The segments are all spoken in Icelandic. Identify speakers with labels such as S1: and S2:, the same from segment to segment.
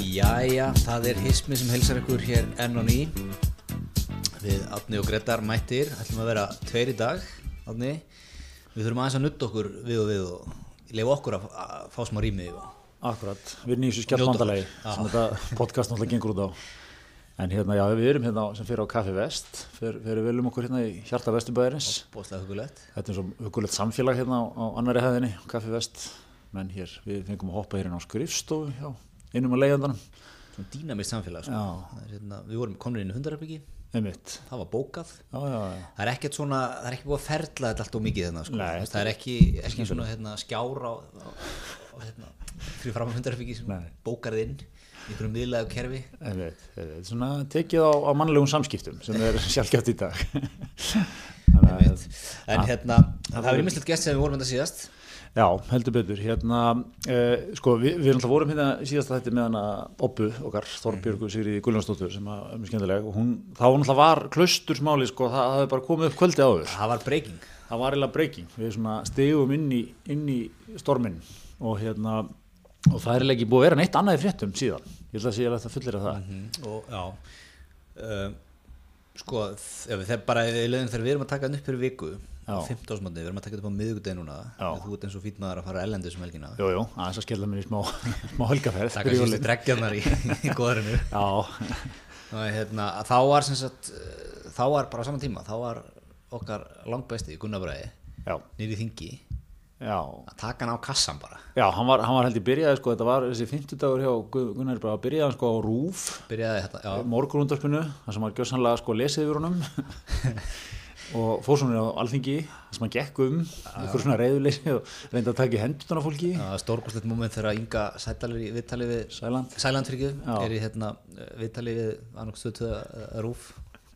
S1: Jæja, það er hismi sem heilsar ykkur hér enn og ný Við Átni og Gretar mættir ætlum að vera tveir í dag Átni, við þurfum aðeins að nutta okkur við og við og leifa okkur að að fá smá rými og
S2: Akkurat, við erum í þessu skjaldmandalegi
S1: Já.
S2: sem þetta podcast náttúrulega gengur út á en hérna, já, við erum hérna á- sem fyrir á Kaffi Vest fyrir, fyrir velum okkur hérna í hjarta Vesturbæðarins
S1: bóðslega hugulegt
S2: þetta er svo hugulegt samfélag hérna á, á annari hæðinni Kaffi Vest, menn hér við fengum að hoppa hérna á skrifstofu já, innum að leiðandanum,
S1: Svona dýnamist samfélag sko.
S2: Já.
S1: Það er hérna, Við vorum komin inn í hundarherbyggi,
S2: einmitt
S1: það var bókað
S2: já, já, já,
S1: Það er ekkert svona, það er ekki búið að ferla þetta allt og mikið þennan sko.
S2: Nei,
S1: Það er ekki, ekki svona hérna, skjár á, á, á hérna, fyrir fram að hundarherbyggi sem
S2: Nei.
S1: bókar þið inn í einhverjum viðlega kerfi
S2: einmitt þetta er svona tekið á, á mannlegum samskiptum sem er sjálfgjátt í dag Þannig að-
S1: En hérna, það var ímislegt gest sem við vorum þetta síðast
S2: Já, heldur betur. Hérna, eh, sko, við, við náttúrulega vorum hérna síðasta þetta með hana Oppu okkar, Þorbjörgu
S1: Mhm.
S2: Sigriði Gulljónsdóttur sem að- er mjög skemmtileg og hún, þá náttúrulega var klaustursmáli, sko, það það hafði bara komið upp kvöldi áður.
S1: Það var breyking
S2: Það var eiginlega breyking. Við svona stegum inn í, inn í stormin og hérna, og það er eiginlega ekki búið að vera neitt annað í fréttum síðan. Ég ætla að segja að þetta fullir að
S1: Mm.
S2: það.
S1: Mhm. Og já um, Sko, þegar við þegar bara í leiðin þegar við erum að taka hann upp fyrir viku
S2: Já.
S1: 15 ásmándi, við erum að taka þetta upp á miðvikudegi núna
S2: Já.
S1: en Þú ert eins og fýt maður að fara ellendi sem helgina
S2: Jú, jú, aðeins að skella mér í smá, smá helgaferð.
S1: Taka
S2: fyrir
S1: síðustu
S2: jólin.
S1: dreggjarnar í, í góðarinu
S2: Já,
S1: og, hérna, að Þá var sem sagt eh, Þá var bara á saman tíma Þá var okkar langbæsti Gunnabræði
S2: já,
S1: nýri þingi
S2: já.
S1: að taka hann á kassan bara
S2: Já, hann var, hann var held ég byrjaði sko, þetta var þessi 50 dagur hjá Gu- Gunnari bara byrjaði hann sko á rúf
S1: Byrjaði þetta, já
S2: morgunundarpinu, það sem hann gjössanlega sko lesið yfir honum og fór svona á alþingi, það sem hann gekk um ykkur svona reyðuleysi og reyndi að taka í hendurna á fólki,
S1: Það var stórkostlegt moment þegar Inga Sættalir í viðtali við
S2: Sæland.
S1: Sælandfyrkið
S2: Já.
S1: er í hérna, eh, viðtali við annarkstöðu rúf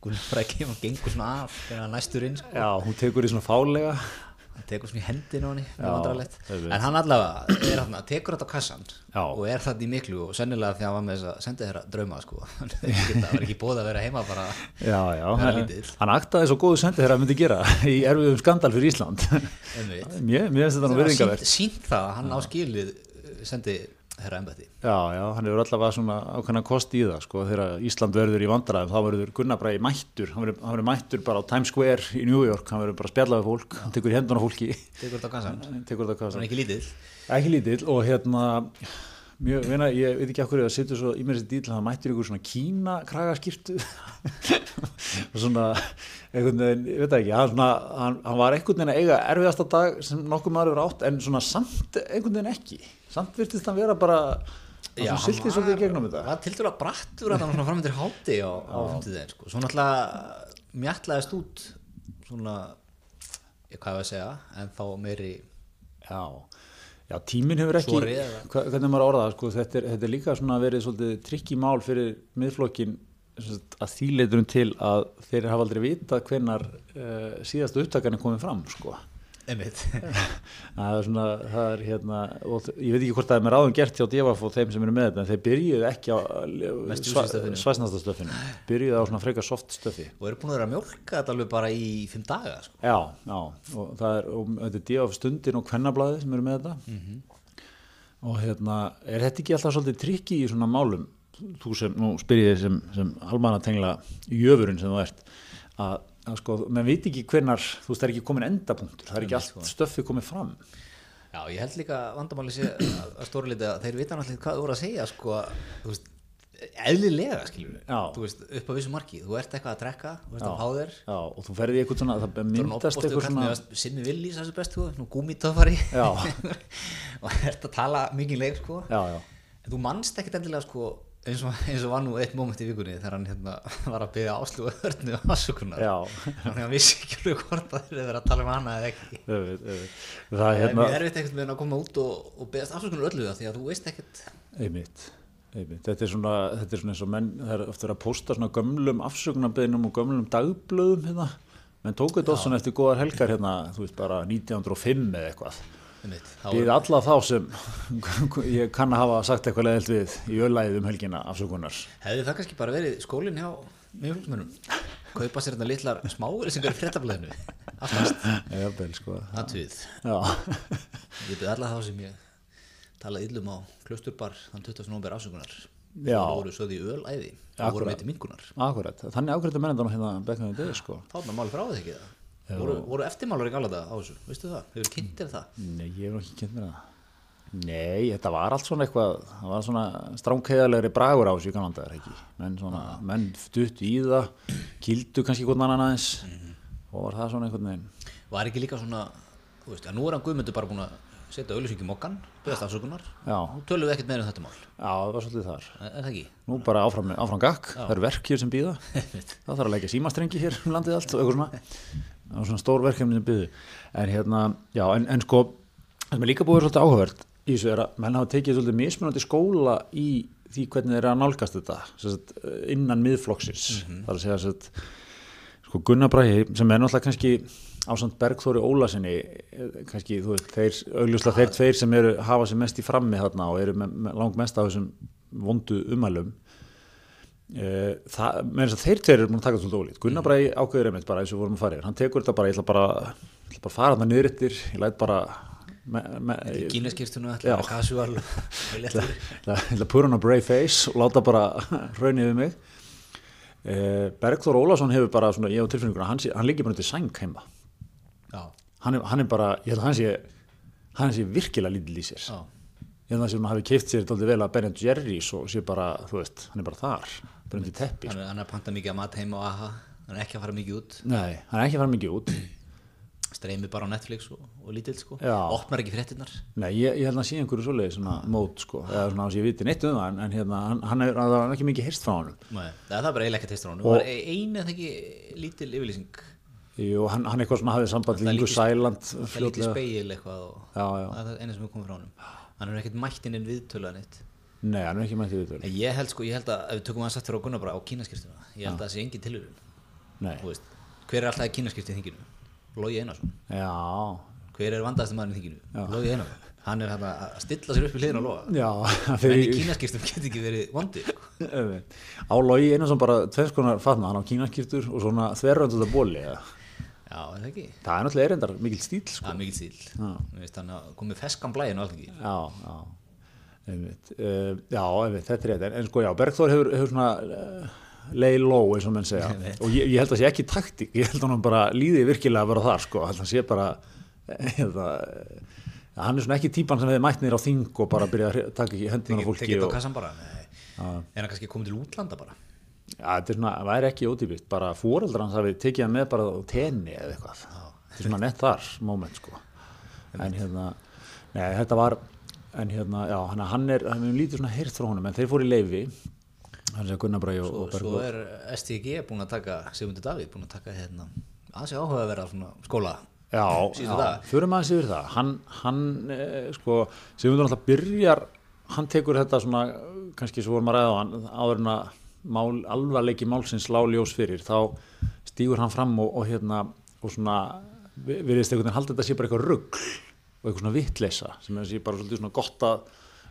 S1: Gunnar Brækki og gengur svona af þegar hann næstur inn sko.
S2: já, hún tekur í svona fálega
S1: hann tekur svona í hendin á henni mjög
S2: Já,
S1: vandræðalegt.
S2: einmitt.
S1: en hann allavega er hann, tekur þetta á kassan
S2: Já.
S1: og er þarna í miklu og sennilega því að hann var með þess að senda þeirra drauma sko. Hann geta- það var ekki bóð að vera heima bara
S2: Já, já,
S1: Vera
S2: hann,
S1: lítill.
S2: hann aktaði svo góðu sendi þegar hann myndi gera í erfiðum skandal fyrir Ísland
S1: einmitt.
S2: Mér, mér finnst þetta nú
S1: það
S2: verðingavert
S1: var sínt það að hann á skilið eh, sendi herra embætti
S2: Já, já, hann hefur allavega svona ákveðna kost í það, sko, þegar Ísland verður í vandræðum, þá verður Gunnar Bræði mættur, hann verður, hann verður mættur bara á Times Square í New York, hann verður bara að spjalla við fólk, hann tekur í hendun á fólki,
S1: tekur þetta á kassan, það
S2: hann tekur þetta hvað
S1: var
S2: sem.
S1: ekki lítill
S2: Ekki lítill og hérna, mjög, veina, ég veit ekki af hverju það situr svo í mér þessi dýl, hann mættur ykkur svona kína kragaskýrtu og svona, einhvern veginn, ég veit það ekki, hann, svona, hann, hann var einhvern veginn að eiga erfiðasta dag sem nokkuð maður hefur átt, en svona samt einhvern veginn ekki, samt virtist hann vera bara, hann svona
S1: hann
S2: silti svolítið í gegnum þetta.
S1: Það var til dæla brattur að hann svona framöndir háti á, á fymtudegin sko. Svo náttúrulega mjallaðist út svona, ég hvað hefur að segja, en þá meiri
S2: Já, já tíminn hefur ekki,
S1: Sorry, eða?
S2: hva- hvernig maður orðað, sko, þetta, er, þetta er líka svona verið svolítið trikki mál fyrir miðflokkin sem sagt, að þýleiturum til að þeir hafa aldrei vitað hvenar uh, síðasta upptakan er komið fram, sko.
S1: emitt.
S2: Það er svona, það er hérna, og þ- ég veit ekki hvort það er með ráðum gert hjá Devaf og þeim sem eru með þetta, en þeir byrjuðu ekki á
S1: Mest útsýnistöffinu.
S2: svæsnastastöfinu, byrjuðu á svona freka soft stöfi.
S1: Og eru búin að vera að mjólka þetta alveg bara í fimm daga sko.
S2: Já, já, og það er, og þetta er D.A.F. stundin og kvennablaði sem eru með þetta Mhm. og hérna, er þetta ekki alltaf svolítið trikki í svona málum, þú sem, nú spyr ég þig sem, sem almanna tengla jöfurinn sem þú ert, að, að sko, menn veit ekki hvernar, þú veist, það er ekki komin endapunktur, það er ekki allt stöffið komið fram.
S1: Já, ég held líka vandamáli sé að að stóra liti að þeir vita náttúrulega hvað þú voru að segja sko, þú veist, eðlilega skilur við,
S2: Já.
S1: þú veist, upp á vissu marki, þú ert eitthvað að drekka, þú ert að fá þér,
S2: Já, og þú ferði eitthvað svona, það myndast
S1: Oppostu
S2: eitthvað
S1: kall með
S2: svona,
S1: að Simmi Villís þessu best þú, nú gúmitöfari
S2: Já.
S1: og ert að tala mikið leik sko
S2: já, já,
S1: en þú manst ekkit endilega sko eins og, eins og var nú eitt moment í vikunni þegar hann hérna, var að byggja áslú og örnu afsökunar
S2: Já.
S1: þannig að hann vissi ekki alveg hvort að þeir verið að tala um hana eða ekki
S2: öfið, öfið. það er
S1: það er
S2: hérna,
S1: mjög erfitt einhvern veginn að koma út og, og beðast afsökunar öllu það því að þú veist ekkit
S2: Einmitt, einmitt. Þetta, er svona, þetta er svona eins og menn, það er ofta verið að posta svona gömlum afsökunarbeðinum og gömlum dagblöðum hérna. Menn tók þetta oft svona eftir góðar helgar hérna, þú veist bara 1905 eða eitthvað.
S1: einmitt, um þá
S2: Við alla þá sem ég kann að hafa sagt eitthvað leðilt við í öllæðið um helgina afsökunar.
S1: hefði það kannski bara verið skólinn hjá mjög fólksmönnum kaupa sér hérna litlar smáir sem verið fréttablaðinu aftast,
S2: Já, bel, sko.
S1: aðtöð
S2: Já,
S1: um Ég byrði alla þá sem ég talaði yllum á klusturbar þann 20. november afsökunar
S2: Já.
S1: og voru sögð í ölæði og voru
S2: Akkurat.
S1: meitt í mingunar
S2: Akkurat, þannig ákveðta mennendan hérna beknaði degi sko.
S1: þarna máli frá því ekki það voru, voru eftirmálar í galada á þessu, veistu það, hefur kynnt þér það
S2: Nei, ég hef nú ekki kynnt mér það Nei, þetta var allt svona eitthvað það var svona stránkeiðalegri bragur á þessu í kannandar ekki, menn svona menn dutt í það, kildu kannski hvernig annan aðeins og var það svona einhvern veginn
S1: var ekki líka svona, þú veist, að nú er hann Guðmundur bara búin að setja auðlýsingi mokkan byggðast afsökunar,
S2: Já,
S1: nú tölum við ekkert meira um þetta mál
S2: já, það var svolítið þar
S1: er er það ekki?
S2: Nú bara áfram, áfram gakk, það eru verk hér sem býða það þarf að leggja símastrengi hér um landið allt og eitthvað svona, það var svona stór verkefni sem býðu, en hérna já, en, en sko, það sem er líka búið er svolítið áhugavert í þessu er að menn hafa tekið svolítið mismunandi skóla í því hvernig þeir eru að nálgast þetta sem sagt, innan miðflokksins, þar að segja sem sagt, sko Gunnar Bræhi sem er náttúrulega kannski ásand Bergþóri Ólasinni kannski þú veist, þeir, augljóslega þeir tveir sem eru, hafa sem mest í frammi þarna og eru með, með, lang mest af þessum vondu umælum Eh, það, með þess að þeir tveir eru búin að taka þetta svolítið ólít Gunnar Bræhi ákveður einmitt bara eins og við vorum að fara yfir hann tekur þetta bara, ég ætla bara, ég ætla bara að fara þarna niður yttir, ég læt bara me, me,
S1: Í Kínaskirtunum
S2: Já.
S1: ætla að kasual og léttur.
S2: Ég ætla ég ætla að put on a brave face og láta bara raunni yfir mig eh, Bergþór Ólason hefur bara svona, ég á tilfinninguna, hann, sé- hann liggi bara undir sæng heima
S1: Já,
S2: hann er, hann er bara, ég held að hann sé hann sé virkilega lítill í sér
S1: já.
S2: ég held að hann sé hann hafi keift sér dálítið vel að Ben Jerry's og sé bara, þú veist, hann er bara þar bara undir teppi sko.
S1: Hann, er- hann er að panta mikið að mat heima og aha hann er ekki að fara mikið út,
S2: Nei, hann er ekki að fara mikið út
S1: streymi bara á Netflix og, og lítill sko,
S2: Já.
S1: opnar ekki fréttinnar
S2: Nei, ég, ég held að hann sé einhverju svoleiði svona
S1: Mm.
S2: mót, sko, eða svona að ég viti neitt um það en, en hérna, hann, hann er, það er ekki mikið heyrst frá hann
S1: Nei, það er e- bara eiginlega ekki testur honum
S2: Og-
S1: og... var einu eða ekki lítil yfirlýsing
S2: Jú, hann, hann eitthvað svona hafið samband
S1: Það er
S2: Lingu
S1: lítið-
S2: Sæland
S1: það er lítið speil eitthvað og
S2: Já, já.
S1: það er það eina sem er komið frá honum hann er ekkert mættinn en viðtöluðan eitt
S2: Nei, hann er ekki mættið viðtölu.
S1: en ég held sko, ég held að ef við tökum að sattur á Gunnar bara á kínaskirtuna ég held að það sé engin tilhörun
S2: Nei.
S1: Þú veist, hver er alltaf kínaskirtið þinginu? Lógi Einarsson
S2: Já,
S1: hver er vandaðasti maðurinn í þinginu? Lógi Einarsson hann er hérna að stilla sér upp í hliðin og loga
S2: já,
S1: en í
S2: fyrir
S1: kínaskirtum getur ekki verið vondi sko.
S2: Öfugt. á logi einu sem bara tveins konar fatna, hann á kínaskiptur og svona þverjöndu þetta bóli. eða?
S1: já, er það ekki?
S2: Það er náttúrulega erindar mikill stíl, sko.
S1: það er mikil stíl Mér finnst hann að komið feskan blæðin á alþingi
S2: Já, já. Einmitt. Uh, já, einmitt, þetta er rétt. En, en sko, já, Bergþór hefur, hefur svona uh, lay low, eins og menn segja. Og ég, ég held að það sé ekki taktík, ég held að hann bara líði virkilega að vera þar, sko. Ég held að hann sé bara, eða, hann er svona ekki típan sem hefði mætt nýra á þing og bara byrjað að hre- taka í hendina á
S1: tekið
S2: fólki
S1: þetta á
S2: og
S1: kassan bara Nei. er hann kannski komið til útlanda bara
S2: Já, þetta er svona, það væri ekki ódýpist, bara fóreldrar hans hafið tekið hann með bara á tenni eða eitthvað. Þetta er svona nett þar moment, sko. En hérna, nei, þetta var, en hérna, já, hann, hann er, hann er lítið svona heyrt frá honum, en þeir fóru í leifi, hann sé að Gunnar Bræði og, og
S1: svo
S2: Bergur.
S1: er STG búin að taka Sigmundur Davíð búin að taka hérna aðsig áhuga að vera svona skóla
S2: Já,
S1: síðustu
S2: já,
S1: daga.
S2: förum aðeins yfir það. Hann, hann, eh, sko, Sigmundur náttúrulega byrjar, hann tekur þetta svona, kannski svo vorum að ræða á hann, áður en að mál, alvarleiki málsins lá ljós fyrir, þá stígur hann fram og, og hérna, og svona, vi- virðist einhvern veginn halda þetta sé bara eitthvað rugg og eitthvað svona vittleysa, sem er sé bara svolítið svona gott að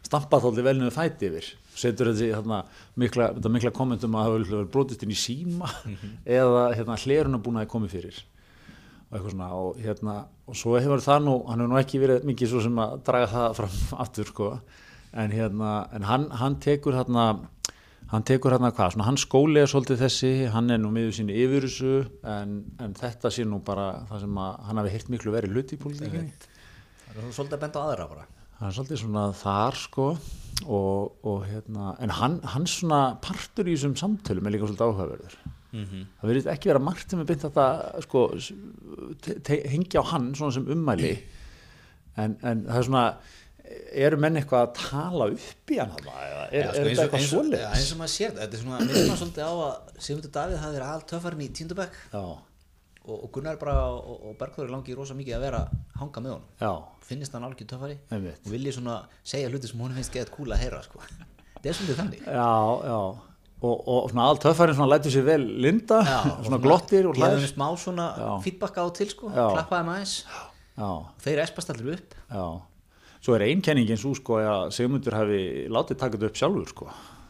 S2: stampa þátti vel niður fæti yfir setur þessi þarna mikla, þetta mikla kommentum að það hefur brotist inn í síma
S1: Mhm.
S2: eða hérna hlerunabúnaði komið fyrir og eitthvað svona og hérna og svo hefur það nú, hann hefur nú ekki verið mikið svo sem að draga það fram aftur sko en hérna, en hann, hann tekur þarna hann tekur þarna hvað, svona hann skólega svolítið þessi, hann er nú miður sín yfir þessu en, en þetta sé nú bara það sem að hann hafi heyrt miklu verið hluti í pólitíkinni
S1: það er svona svolítið að benda á aðra bara
S2: hann er svolítið svona þar sko og, og hérna en hann, hann svona partur í þessum samtölum er líka svolítið áhugaverður
S1: Mhm.
S2: það verið ekki vera margt sem er beint að það sko s- te- te- hengja á hann svona sem ummæli en, en það er svona eru menn eitthvað að tala upp í hann þarna, eða er,
S1: Já, sko, eins
S2: er þetta
S1: og-
S2: eitthvað
S1: eins og-
S2: svoleiðis
S1: já, eins og maður sér þetta er svona, minnum maður svolítið á að Sigmundur Davíð hafi verið all töffarinn í tíndabæk
S2: já,
S1: og, og Gunnar bara og, og Bergþóri langi rosa mikið að vera að hanga með honum
S2: já,
S1: finnist hann algjör töffari
S2: Einmitt.
S1: og vilji svona segja hluti sem hún finnst geðað kúla að heyra sko. það er svolítið þannig
S2: já, já. Og, og svona allt höfðfærin svona lætur sér vel linda,
S1: Já,
S2: svona, glottir og
S1: gefið
S2: hlæðir
S1: henni smá svona feedback á og til sko,
S2: Já.
S1: klappaði maður
S2: já
S1: þeir espast allir upp
S2: Já, svo er einkenningin svo sko að Sigmundur hafi látið taka þetta upp sjálfur sko,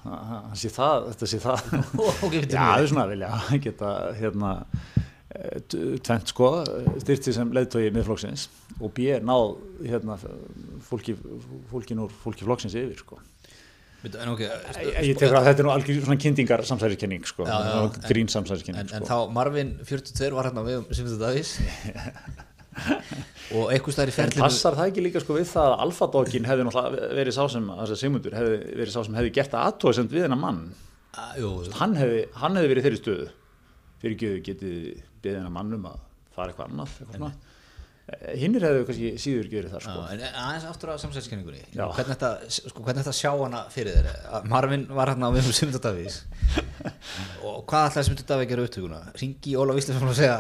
S2: Hann- hann sé það, þetta sé það.
S1: Og gefið til
S2: Já, það er svona að vilja geta hérna eh, t- tvennt sko, styrti sem leiðtói miðflokksins og B náð hérna fólki, fólkin úr fólki flokksins yfir sko.
S1: Veitu, En, okay,
S2: Ég ég tekur að þetta er nú algjör svona kyndingar samsæriskenning
S1: sko,
S2: sko,
S1: Já, já,
S2: Og
S1: en-
S2: grín
S1: en,
S2: samsæriskenning
S1: en
S2: sko.
S1: þá Marvin 42 var hérna við sem þetta dagis og einhvers staðar í
S2: En
S1: ferlinu
S2: passar það ekki líka sko við það að alfadókin hefði náttúrulega verið sá sem, þess að Sigmundur hefði verið sá sem hefði gert að aðtóðsend við hennar mann.
S1: Ah, jú, jú.
S2: Hann hefði, hann hefði verið í þeirri stöðu. Fyrir ekki getið beðið hennar mann um að fara eitthvað annað, eitthvað svona. Eh, Hinnir hefðu kannski síður gerið það
S1: Já,
S2: sko.
S1: en en aðeins aftur á samsælskenningunni
S2: Já.
S1: hvernig þetta, sko, hvernig þetta sjá hana fyrir þér Að Marvin var hérna á við um Simdadavís og hvað ætlaði Simdadaví að gera upptökuna ringi í Ólaf Íslandsson og segja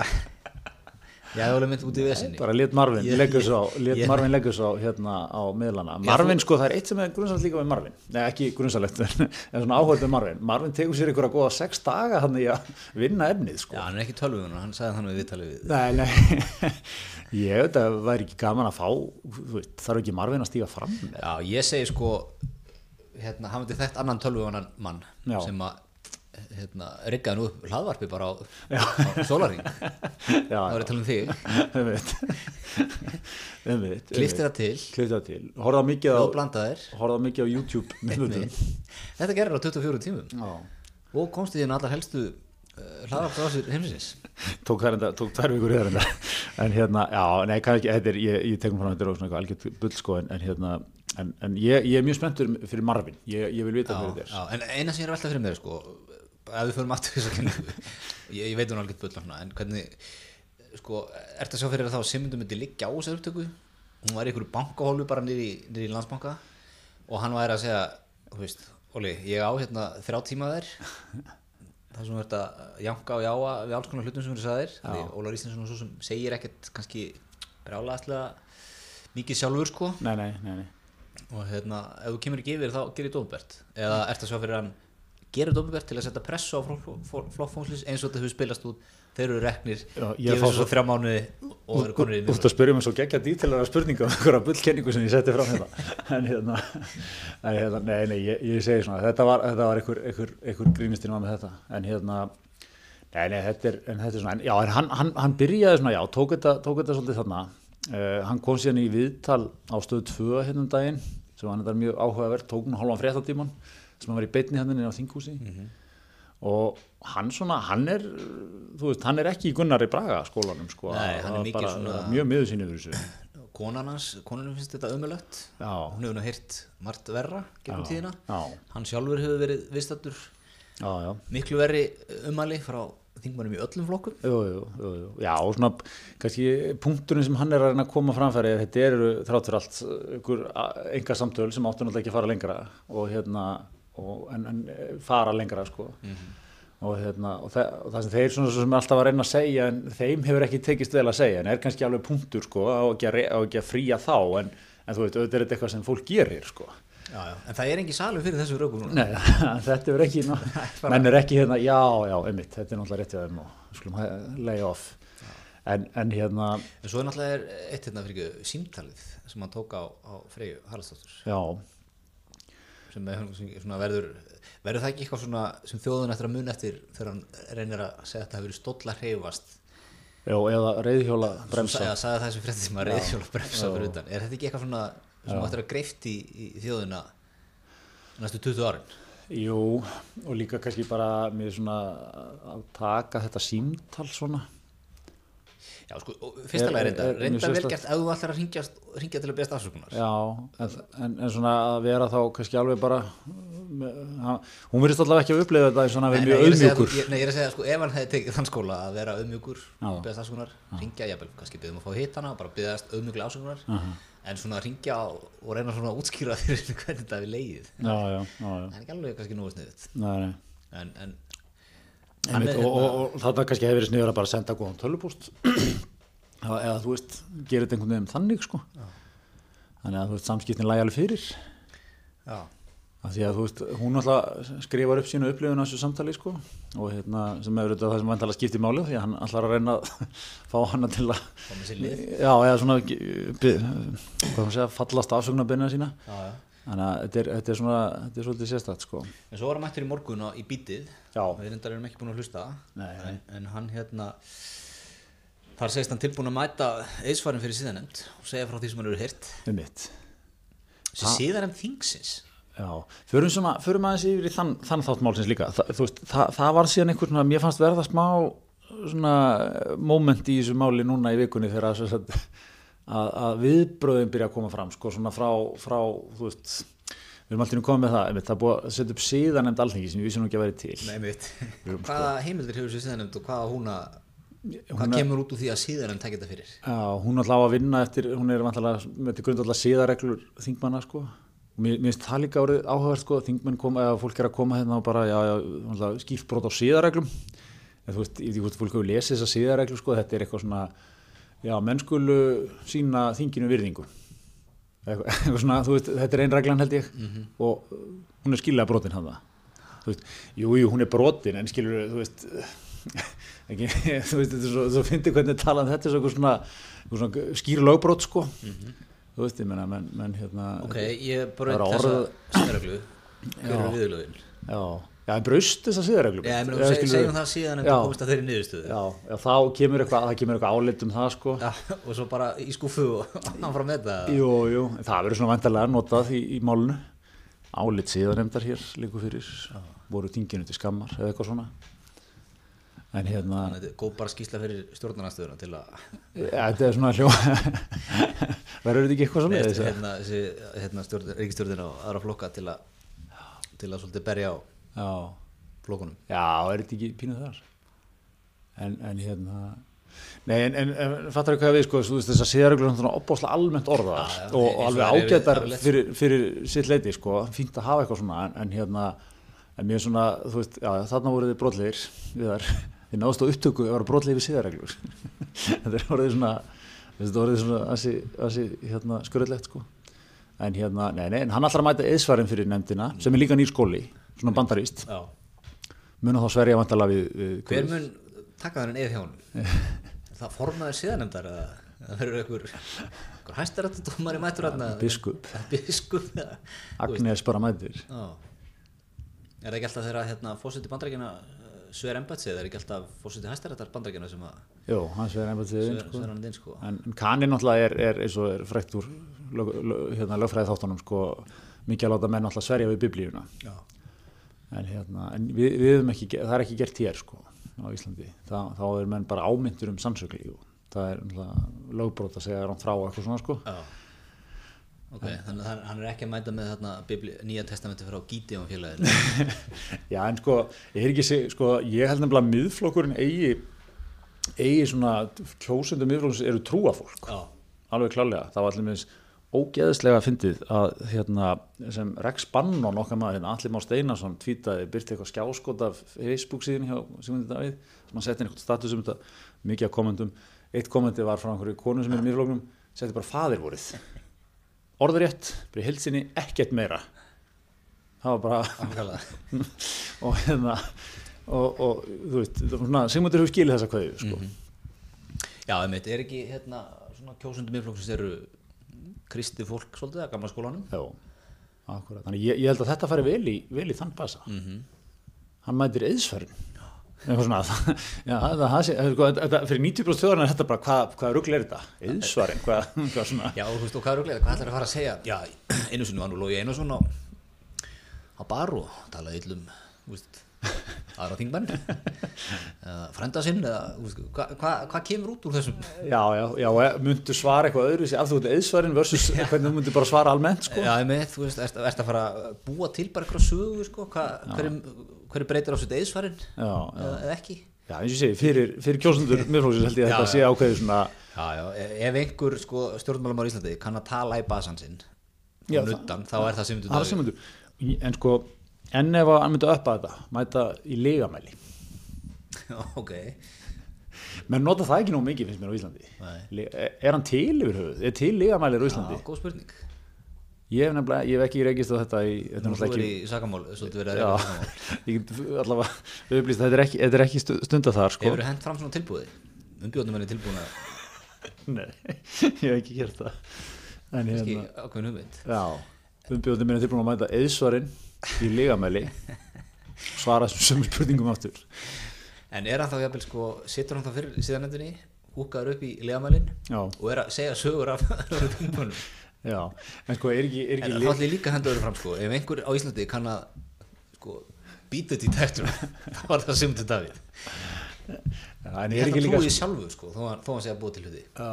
S1: já, Ólaf mynd út í vesinni
S2: Bara let Marvin
S1: Ég-
S2: leggjus á, let
S1: ég-
S2: Marvin leggjus á hérna á miðlana. Marvin sko það er eitt sem er grunnsalt líka við Marvin. Nei ekki grunnsallegt en en svona áhörð með Marvin. Marvin tekur sér einhverja góða sex daga hann í að vinna efnið sko.
S1: já, hann er ekki tölvunar, hann sagði þannig við viðtalið við
S2: Nei, nei, ég veit að það væri ekki gaman að fá, þú veit, þarf ekki Marvin að stíga fram með.
S1: já, ég segi sko hérna, hann myndi þekkt annan tölvunar mann
S2: Já.
S1: sem að hérna, riggaði nú upp hlaðvarpi bara á, á sólaring þá
S2: Já,
S1: er ég að tala um þig,
S2: við veit, við veit.
S1: kliftir það til
S2: Kliftir það til. Horða mikið á,
S1: og blandaðir
S2: horða mikið á YouTube
S1: Nei.
S2: myndum.
S1: þetta gerir á 24 tímum
S2: Já,
S1: og komst í þín allar helstu uh, hlaðarbrásir heimsins
S2: tók þær enda, tók þær vikur yfir enda. En hérna, já, nei, kannski, þetta er, ég, ég tekum frá þetta og svona eitthvað algjört bull sko, en, en hérna, en, en ég, ég er mjög spenntur fyrir Marvin, ég, ég vil vita hverju þetta er.
S1: já, en eina sem ég er að velta fyrir mér er, sko, ef við förum aftur þess að kenningu ég, ég veit hún alveg bull hana, en hvernig sko, ertu að sjá fyrir þér þá að Simmundur myndi liggja á þessar upptöku hún var í einhverju bankahólu bara nýri, nýri landsbanka og hann væri að segja þú veist, Óli, ég á hérna þrjá tíma þær það sem þú ert að janka og jáa við alls konar hlutum sem þú sagðir því Ólar Íslandsson og svo sem segir ekkert kannski brálaðslega mikið sjálfur sko
S2: Nei, nei, nei, nei.
S1: og hérna, ef þú kemur ekki yfir þá gerir þetta ofinbært eða ert að sjá fyrir hann gerir þetta ofinbært til að setja pressu á flokkfónslis eins og þetta hefur spilast út þeir eru reknir,
S2: Já, ég
S1: gefur
S2: fá
S1: svo, svo
S2: svo-
S1: þrjá mánuði og eru konur í
S2: Þú ert að spyrja mig svo geggja dítilara spurninga um einhverja bullkenningu sem ég setti fram hérna. En hérna, en hérna nei, nei, ég, ég segi svona, þetta var, þetta var einhver, einhver, einhver grínistinn var með þetta. En hérna, nei, nei, þetta er, en þetta er svona, en, já, en hann, hann, hann byrjaði svona, já, tók þetta, tók þetta svolítið þarna. Uh, hann kom síðan í viðtal á stöðu 2 hérna um daginn, sem hann þetta er mjög áhugavert, tók hann hálfan fréttatíman, sem hann var í beinni hérna inn á þinghúsi
S1: Mhm.
S2: og hann svona, hann er þú veist, hann er ekki í Gunnari Braga skólanum sko,
S1: Nei, hann er
S2: Það
S1: mikið
S2: bara,
S1: svona-
S2: mjög miður sín yfir þessu
S1: vinnur konan hans, konunum finnst þetta ömulegt
S2: já,
S1: hún hefur nú heyrt margt verra gegnum
S2: Já,
S1: tíðina
S2: já.
S1: hann sjálfur hefur verið viðstattur
S2: já, já
S1: miklu verri umali frá þingmannum í öllum flokkum
S2: Jú, jú, jú, jú. Já, og svona kannski punkturinn sem hann er að reyna að koma framfæri þetta eru þrátt fyrir allt eh, einhver enga samtöl sem áttu náttúrulega ekki að fara lengra og hérna og, en, en eh, fara lengra sko og, hérna, og, það, og það sem þeir svona sem alltaf að reyna að segja en þeim hefur ekki tekist vel að segja en er kannski alveg punktur sko á ekki að, re- á ekki að fría þá en, en þú veit, auðvitað er þetta eitthvað sem fólk gerir sko
S1: já, já. en það er engin salur fyrir þessu rökum núna
S2: Nei, þetta er ekki, ná, menn er ekki hérna, já, já, einmitt, þetta er náttúrulega rétt hjá þeim og við skulum hæ- lay off. En, en hérna,
S1: en svo er náttúrulega er eitt hérna fyrir ekki símtalið sem hann tók á, á Freyju Haraldsdóttur
S2: já,
S1: sem er, sem svona verður verður það ekki eitthvað svona sem þjóðun eftir að mun eftir þegar hann reynir að segja að þetta hafi verið stóll að hreyfast
S2: já, eða reyðhjóla bremsa.
S1: að sagði það sem frétti sem að reyðhjóla bremsa fyrir utan er þetta ekki eitthvað svona sem ættir að greift í, í þjóðuna næstu 20 árin
S2: Jú, og líka kannski bara með svona að taka þetta símtal svona.
S1: já sko, og fyrsta
S2: Er-
S1: lega reynda,
S2: er- er mjög
S1: reynda vel
S2: sérstakt.
S1: gert ef þú ætlar að ringja, ringja til að beðast afsökunar
S2: Já, en, en, en svona að vera þá kannski alveg bara, með, hann- hún verðist allavega ekki að upplifa þetta í svona
S1: Nei,
S2: við
S1: nei,
S2: mjög
S1: ég er að segja-
S2: auðmjúkur.
S1: ég- Nei, ég er að segja, sko, ef hann hefði tekið þann skóla að vera auðmjúkur,
S2: Já.
S1: beðast afsökunar, ringja, jafnvel, kannski beðum að fá hitt hana, bara beðast auðmjúkla afsökunar, en svona ringja og reyna svona að útskýra þér hvernig þetta við leið.
S2: Já, já, já, já,
S1: Það er ekki alveg kannski nógu sniðið,
S2: nei, nei.
S1: en, en hann
S2: Einmitt,
S1: er- hérna-
S2: og, og, og þarna kannski hefur verið sniður að bara senda góðan tölvupúst eða eða, þú veist, gerir þetta einhvern veginn þannig sko. þannig að þú veist, samskiptin lægi alveg fyrir
S1: já,
S2: af því að þú veist, hún alltaf skrifar upp sína upplifun á þessu samtali sko, og hérna, sem hefur þetta það sem vantala skiptir máli því að hann alltaf að reyna að fá hana til að
S1: Fá með sér lið.
S2: já, eða svona eh, bi- hvað hún segja, fallast afsögnarbyrna sína
S1: já, já.
S2: þannig að þetta er, þetta er svona þetta er svolítið sérstætt sko.
S1: En svo var hann mættur í morgun á, í bítið,
S2: Já.
S1: við reyndar erum ekki búin að hlusta,
S2: Nei, nei.
S1: en, en hann hérna, þar segist hann tilbúin að mæta eisfarin fyrir síðanemnd og segja frá því sem hann eru hirt,
S2: um mitt
S1: síðanemnd þingsins.
S2: Já, förum, svona, förum aðeins yfir í þann, þann þátt málsins líka. Þa, þú veist, það, það var síðan einhvern svona, mér fannst verða smá svona moment í þessu máli núna í vikunni þegar að, sem sagt, að, að viðbröðin byrja að koma fram, sko, svona frá, frá þú veist, við erum alltaf komið með það, einmitt, það er búið að setja upp síðan nefnd alþengi sem ég vissi nú ekki að vera til.
S1: Nei, mitt. Hvaða heimildir hefur sér síðanemnd og hvaða húna, hvað
S2: sko- Hún er-
S1: kemur út úr því að síðanemnd takja þetta fyrir?
S2: Já, hún alltaf á að vinna eftir, hún er vantilega með til grundvallar siðareglur þingmanna sko. Mér, mér finnst það líka orðið áhugavert sko, að þingmenn koma, eða fólk er að koma hérna og bara, já, já, skýrt brot á siðareglum. En þú veist, ég veit ekki hvort fólk hefur lesið þessa siðareglu sko, þetta er eitthvað svona, já, mennskulu sína þinginu virðingu. Eitthvað, eitthvað svona, þú veist, þetta er ein reglan held ég
S1: Mhm.
S2: og uh, hún er skilja brotin hann það. Þú veist, jú, jú, hún er brotin en skilur, þú veist, ekki, þú veist, þetta er svo, þú finnir hvernig er talað um þetta er svo eitthvað svona, eitthvað svona skýr lögbrot sko. Þú veist, ég menna, menn, menn hérna.
S1: Mhm. Ok, ég bara
S2: Það er
S1: þessa
S2: orð-
S1: síðareglu, hver eru viðlögin?
S2: Já, já, en braust þessa siðareglum.
S1: Já, ég meina, seg, segjum um það síðanemnd
S2: Já.
S1: og komist að þeirri niðurstöðu.
S2: Já, já, þá kemur eitthvað, það kemur eitthvað álit um það sko.
S1: Já, og svo bara í skúfu og áfram með þetta.
S2: Jú, jú, en það verður svona vantarlega notað í, í málunu. Álit síðanemdar hér líku fyrir, voru tinginu til skammar eða eitthvað svona. En hérna,
S1: Þannig að þetta er góð bara skýsla fyrir stjórnarnastöðuna til að
S2: ja, þetta er svona hljó, verður þetta ekki eitthvað svona?
S1: Nei, hérna, þessi, hérna stjórn, ríkistjórnir og aðra flokka til að, til að svolítið berja á
S2: Já,
S1: flokkunum.
S2: já, er þetta ekki pínuð þar? En, en hérna, nei, en, en, en fattar ekki hvað við sko, þú veist þessar síðarreglur eru svona opbáslega almennt orðaðar
S1: Já, já,
S2: og,
S1: eins
S2: og
S1: og þær
S2: alveg
S1: eru
S2: ágætar
S1: yfirleitt.
S2: fyrir, fyrir sitt leiti sko, fínt að hafa eitthvað svona en, en hérna, en mér svona þú veist, já, þarna voruð þið brotlegir við þar, þið náðust á upptöku að vera brotlegir við siðareglur þetta er orðið svona þetta er orðið svona ansi, ansi hérna, skurðlegt sko en hérna, nei, nei, en hann ætlar að mæta eðsvarin fyrir nefndina sem er líka nýr skóli, svona bandarist
S1: Já.
S2: mun þá sverja vantala við, við
S1: Hver mun taka þennan eða hjá honum? Er það formaður síðanemdar eða það verður einhver, einhver hæstarættudómari mættur hérna?
S2: biskup.
S1: Biskup, eða?
S2: Agnes bara mætir
S1: Já. Er það ekki alltaf þegar að, hérna, fórseti bandrækina sver embætsið, er ekki alltaf fórseti hæstarættar bandrækina sem að
S2: Jú, hann sverja embættiðin sko.
S1: sver hann inn sko?
S2: En, en Kanin náttúrulega er, er eins og er frækt úr lög, lög, hérna, lögfræði þáttunum sko, mikið að láta menn náttúrulega sverja við biblíuna.
S1: Já.
S2: En, hérna, en við, við höfum ekki, ge- það er ekki gert hér sko á Íslandi. Þa, þá er menn bara ámyndur um sannsökli og það er náttúrulega lögbrót að segja hann frá og eitthvað svona sko.
S1: Já. Ok, þannig að hann- hann er ekki að mæta með þarna Bibli, nýja testamenti frá Gideon félaginu.
S2: Já en sko, ég, er ekki, seg- sko, ég held nefnilega að miðflokkurinn eigi, eigi svona kjósendur miðflokkurins eru trúafólk.
S1: Já.
S2: alveg klálega, það var allir meins ógeðslega fyndið að hérna, sem Rex Bannon okkar maður hérna, Alli Már Steinarsson tvítaði, byrti eitthvað skjáskot af Facebook síðan hjá Sigmundi Davíð sem hann setti inn eitthvað status um þetta, mikið af kommentum eitt kommenti var frá einhverju konu sem er í miðflóknum, setti bara faðirvorið orðurétt, bara í hilsinni ekkert meira það var bara
S1: Ákala.
S2: og hérna og, og þú veist, þetta var svona, Sigmundur hefur skilið þessa kveðju sko.
S1: Já, einmitt, er ekki hérna svona kjósundum yfirflokksins eru kristið fólk svolítið að gamla skólanum?
S2: Já, akkurat. Þannig ég, ég held að þetta fari vel í, vel í þann basa. Hann mætir eðsverðin. Eitthvað svona, það- já, það, það sé, sko, þetta- þetta, fyrir 90% þjóðarinn er þetta bara, hvað, hvað rugl er þetta? Eðsvarinn, hvað, hvað svona,
S1: Já, og þú veist, og hvað er auðvitað, hvað ætlar að fara að segja? Já, einu sinni var nú Lói Einarsson á, á bar og talaði yllum, þú veist, aðra þingmenn, uh, frenda sinn, eða, þú veist, hvað hva, hva kemur út úr þessum?
S2: já, já, já, e- muntu svara eitthvað öðru sér, af þú veit eðsvarinn versus hvernig þú myndir bara svara almennt, sko.
S1: Já, einmitt, þú veist, ert, ert að fara að búa til bara eitthvað sögu, sko, hvað, hverju, hverju breytir á sitt eðsvarin
S2: Já, já,
S1: eða eða ekki?
S2: já, eins og ég segi, fyrir, fyrir kjósundur miðflóksins held ég að
S1: Já,
S2: þetta sé ákveðið svona,
S1: Já, já, e- ef einhver sko, stjórnmálamar í Íslandi kann að tala í basan sinn
S2: Já,
S1: og nuttan, þá er það sem um.
S2: það er sem myndur, en sko, enn ef að hann myndi uppa þetta, mæta í leigamæli.
S1: ok,
S2: menn nota það ekki nóg mikið finnst mér á Íslandi
S1: Nei.
S2: Le- e, er hann til yfir höfuð, er til ligamælir á
S1: já,
S2: Íslandi
S1: góð spurning
S2: ég hef nefnilega, ég hef ekki rekist á þetta í, þetta er
S1: Nú svo
S2: náttúrulega
S1: verið
S2: ekki
S1: í sakamál, svolítið verið að
S2: já,
S1: reyna sakamál
S2: ég get allavega upplýst, að þetta er ekki, þetta er ekki stu- stundað þar sko.
S1: Hefur hent fram svona tilbúði? Umbjóðnum henni tilbúin að
S2: Hérna- nei, ég hef ekki gert það en
S1: ekki
S2: hérna,
S1: ákveðin hugmynd
S2: já umbjóðnum minna tilbúin að mæta eðsvarinn í ligamæli svara þessum sömu spurningum aftur
S1: En er hann þá jafnvel sko, situr hann þá fyrir síðanendinni húkaður upp í legamælinn
S2: já,
S1: og er að segja sögur af þingmönnum
S2: já, en sko er ekki, er
S1: En
S2: ekki
S1: þá ætlum ég líka að henda öðru fram sko Ef einhver á Íslandi kann að sko, býta þetta í taktur þá var það Simon Davíð
S2: Já, en
S1: Ég
S2: er
S1: held
S2: ekki
S1: að
S2: líka
S1: trúi því sjálfu sko þó hann, þó hann sé að búa til hluti
S2: Já,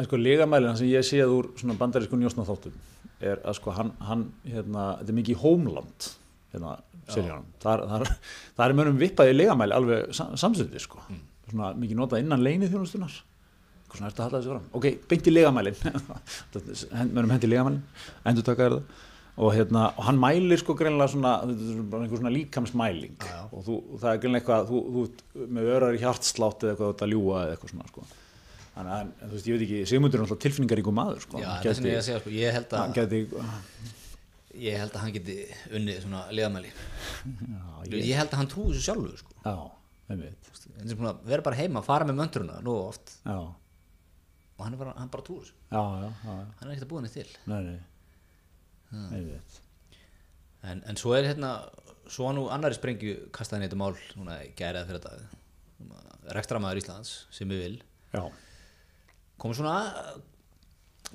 S2: en sko ligamælina sem ég séð úr svona bandarísku njósnaþáttum er að sko hann, hann hérna, þetta er mikið í Homeland hérna, seríunum, þar, þar, þar er mönnum vippaði ligamæli alveg sam, samstöndið sko, svona mikið notað innan leinið þjónustunar, eitthvað svona ertu að halda þessu fram, ok, beint í ligamælin mönnum hendi ligamælin endur taka það og, hérna, og hann mælir sko greinlega svona, þetta er bara einhver svona líkamsmæling
S1: Já, já.
S2: og þú, það er greinlega eitthvað, þú, þú ert með örari hjartslátt eða eitthvað þú ert að ljúa eða eitthvað svona sko. Þannig að, en, þú veist, ég veit ekki, Sigmundur er alltaf tilfinningaríku maður, sko.
S1: Já,
S2: Hann
S1: þess vegna
S2: gæti-
S1: ég að segja sko Ég held
S2: Hann
S1: að,
S2: gæti,
S1: ég held að hann geti unnið svona liðamæli
S2: já, ég,
S1: Ah, Ég held að hann trúi þessu sjálfu sko
S2: já, einmitt,
S1: En sem svona, vera bara heima, fara með möndruna nú oft
S2: já,
S1: og hann, er bara, hann bara trúi þessu
S2: já, já, já, já,
S1: Hann er ekkert að búa henni til
S2: nei, nei, einmitt,
S1: En, en svo er hérna, svo var nú annari sprengju kastaðin þetta mál núna gerðið fyrir dag rekstramaður Íslands sem við vil
S2: já,
S1: kom svona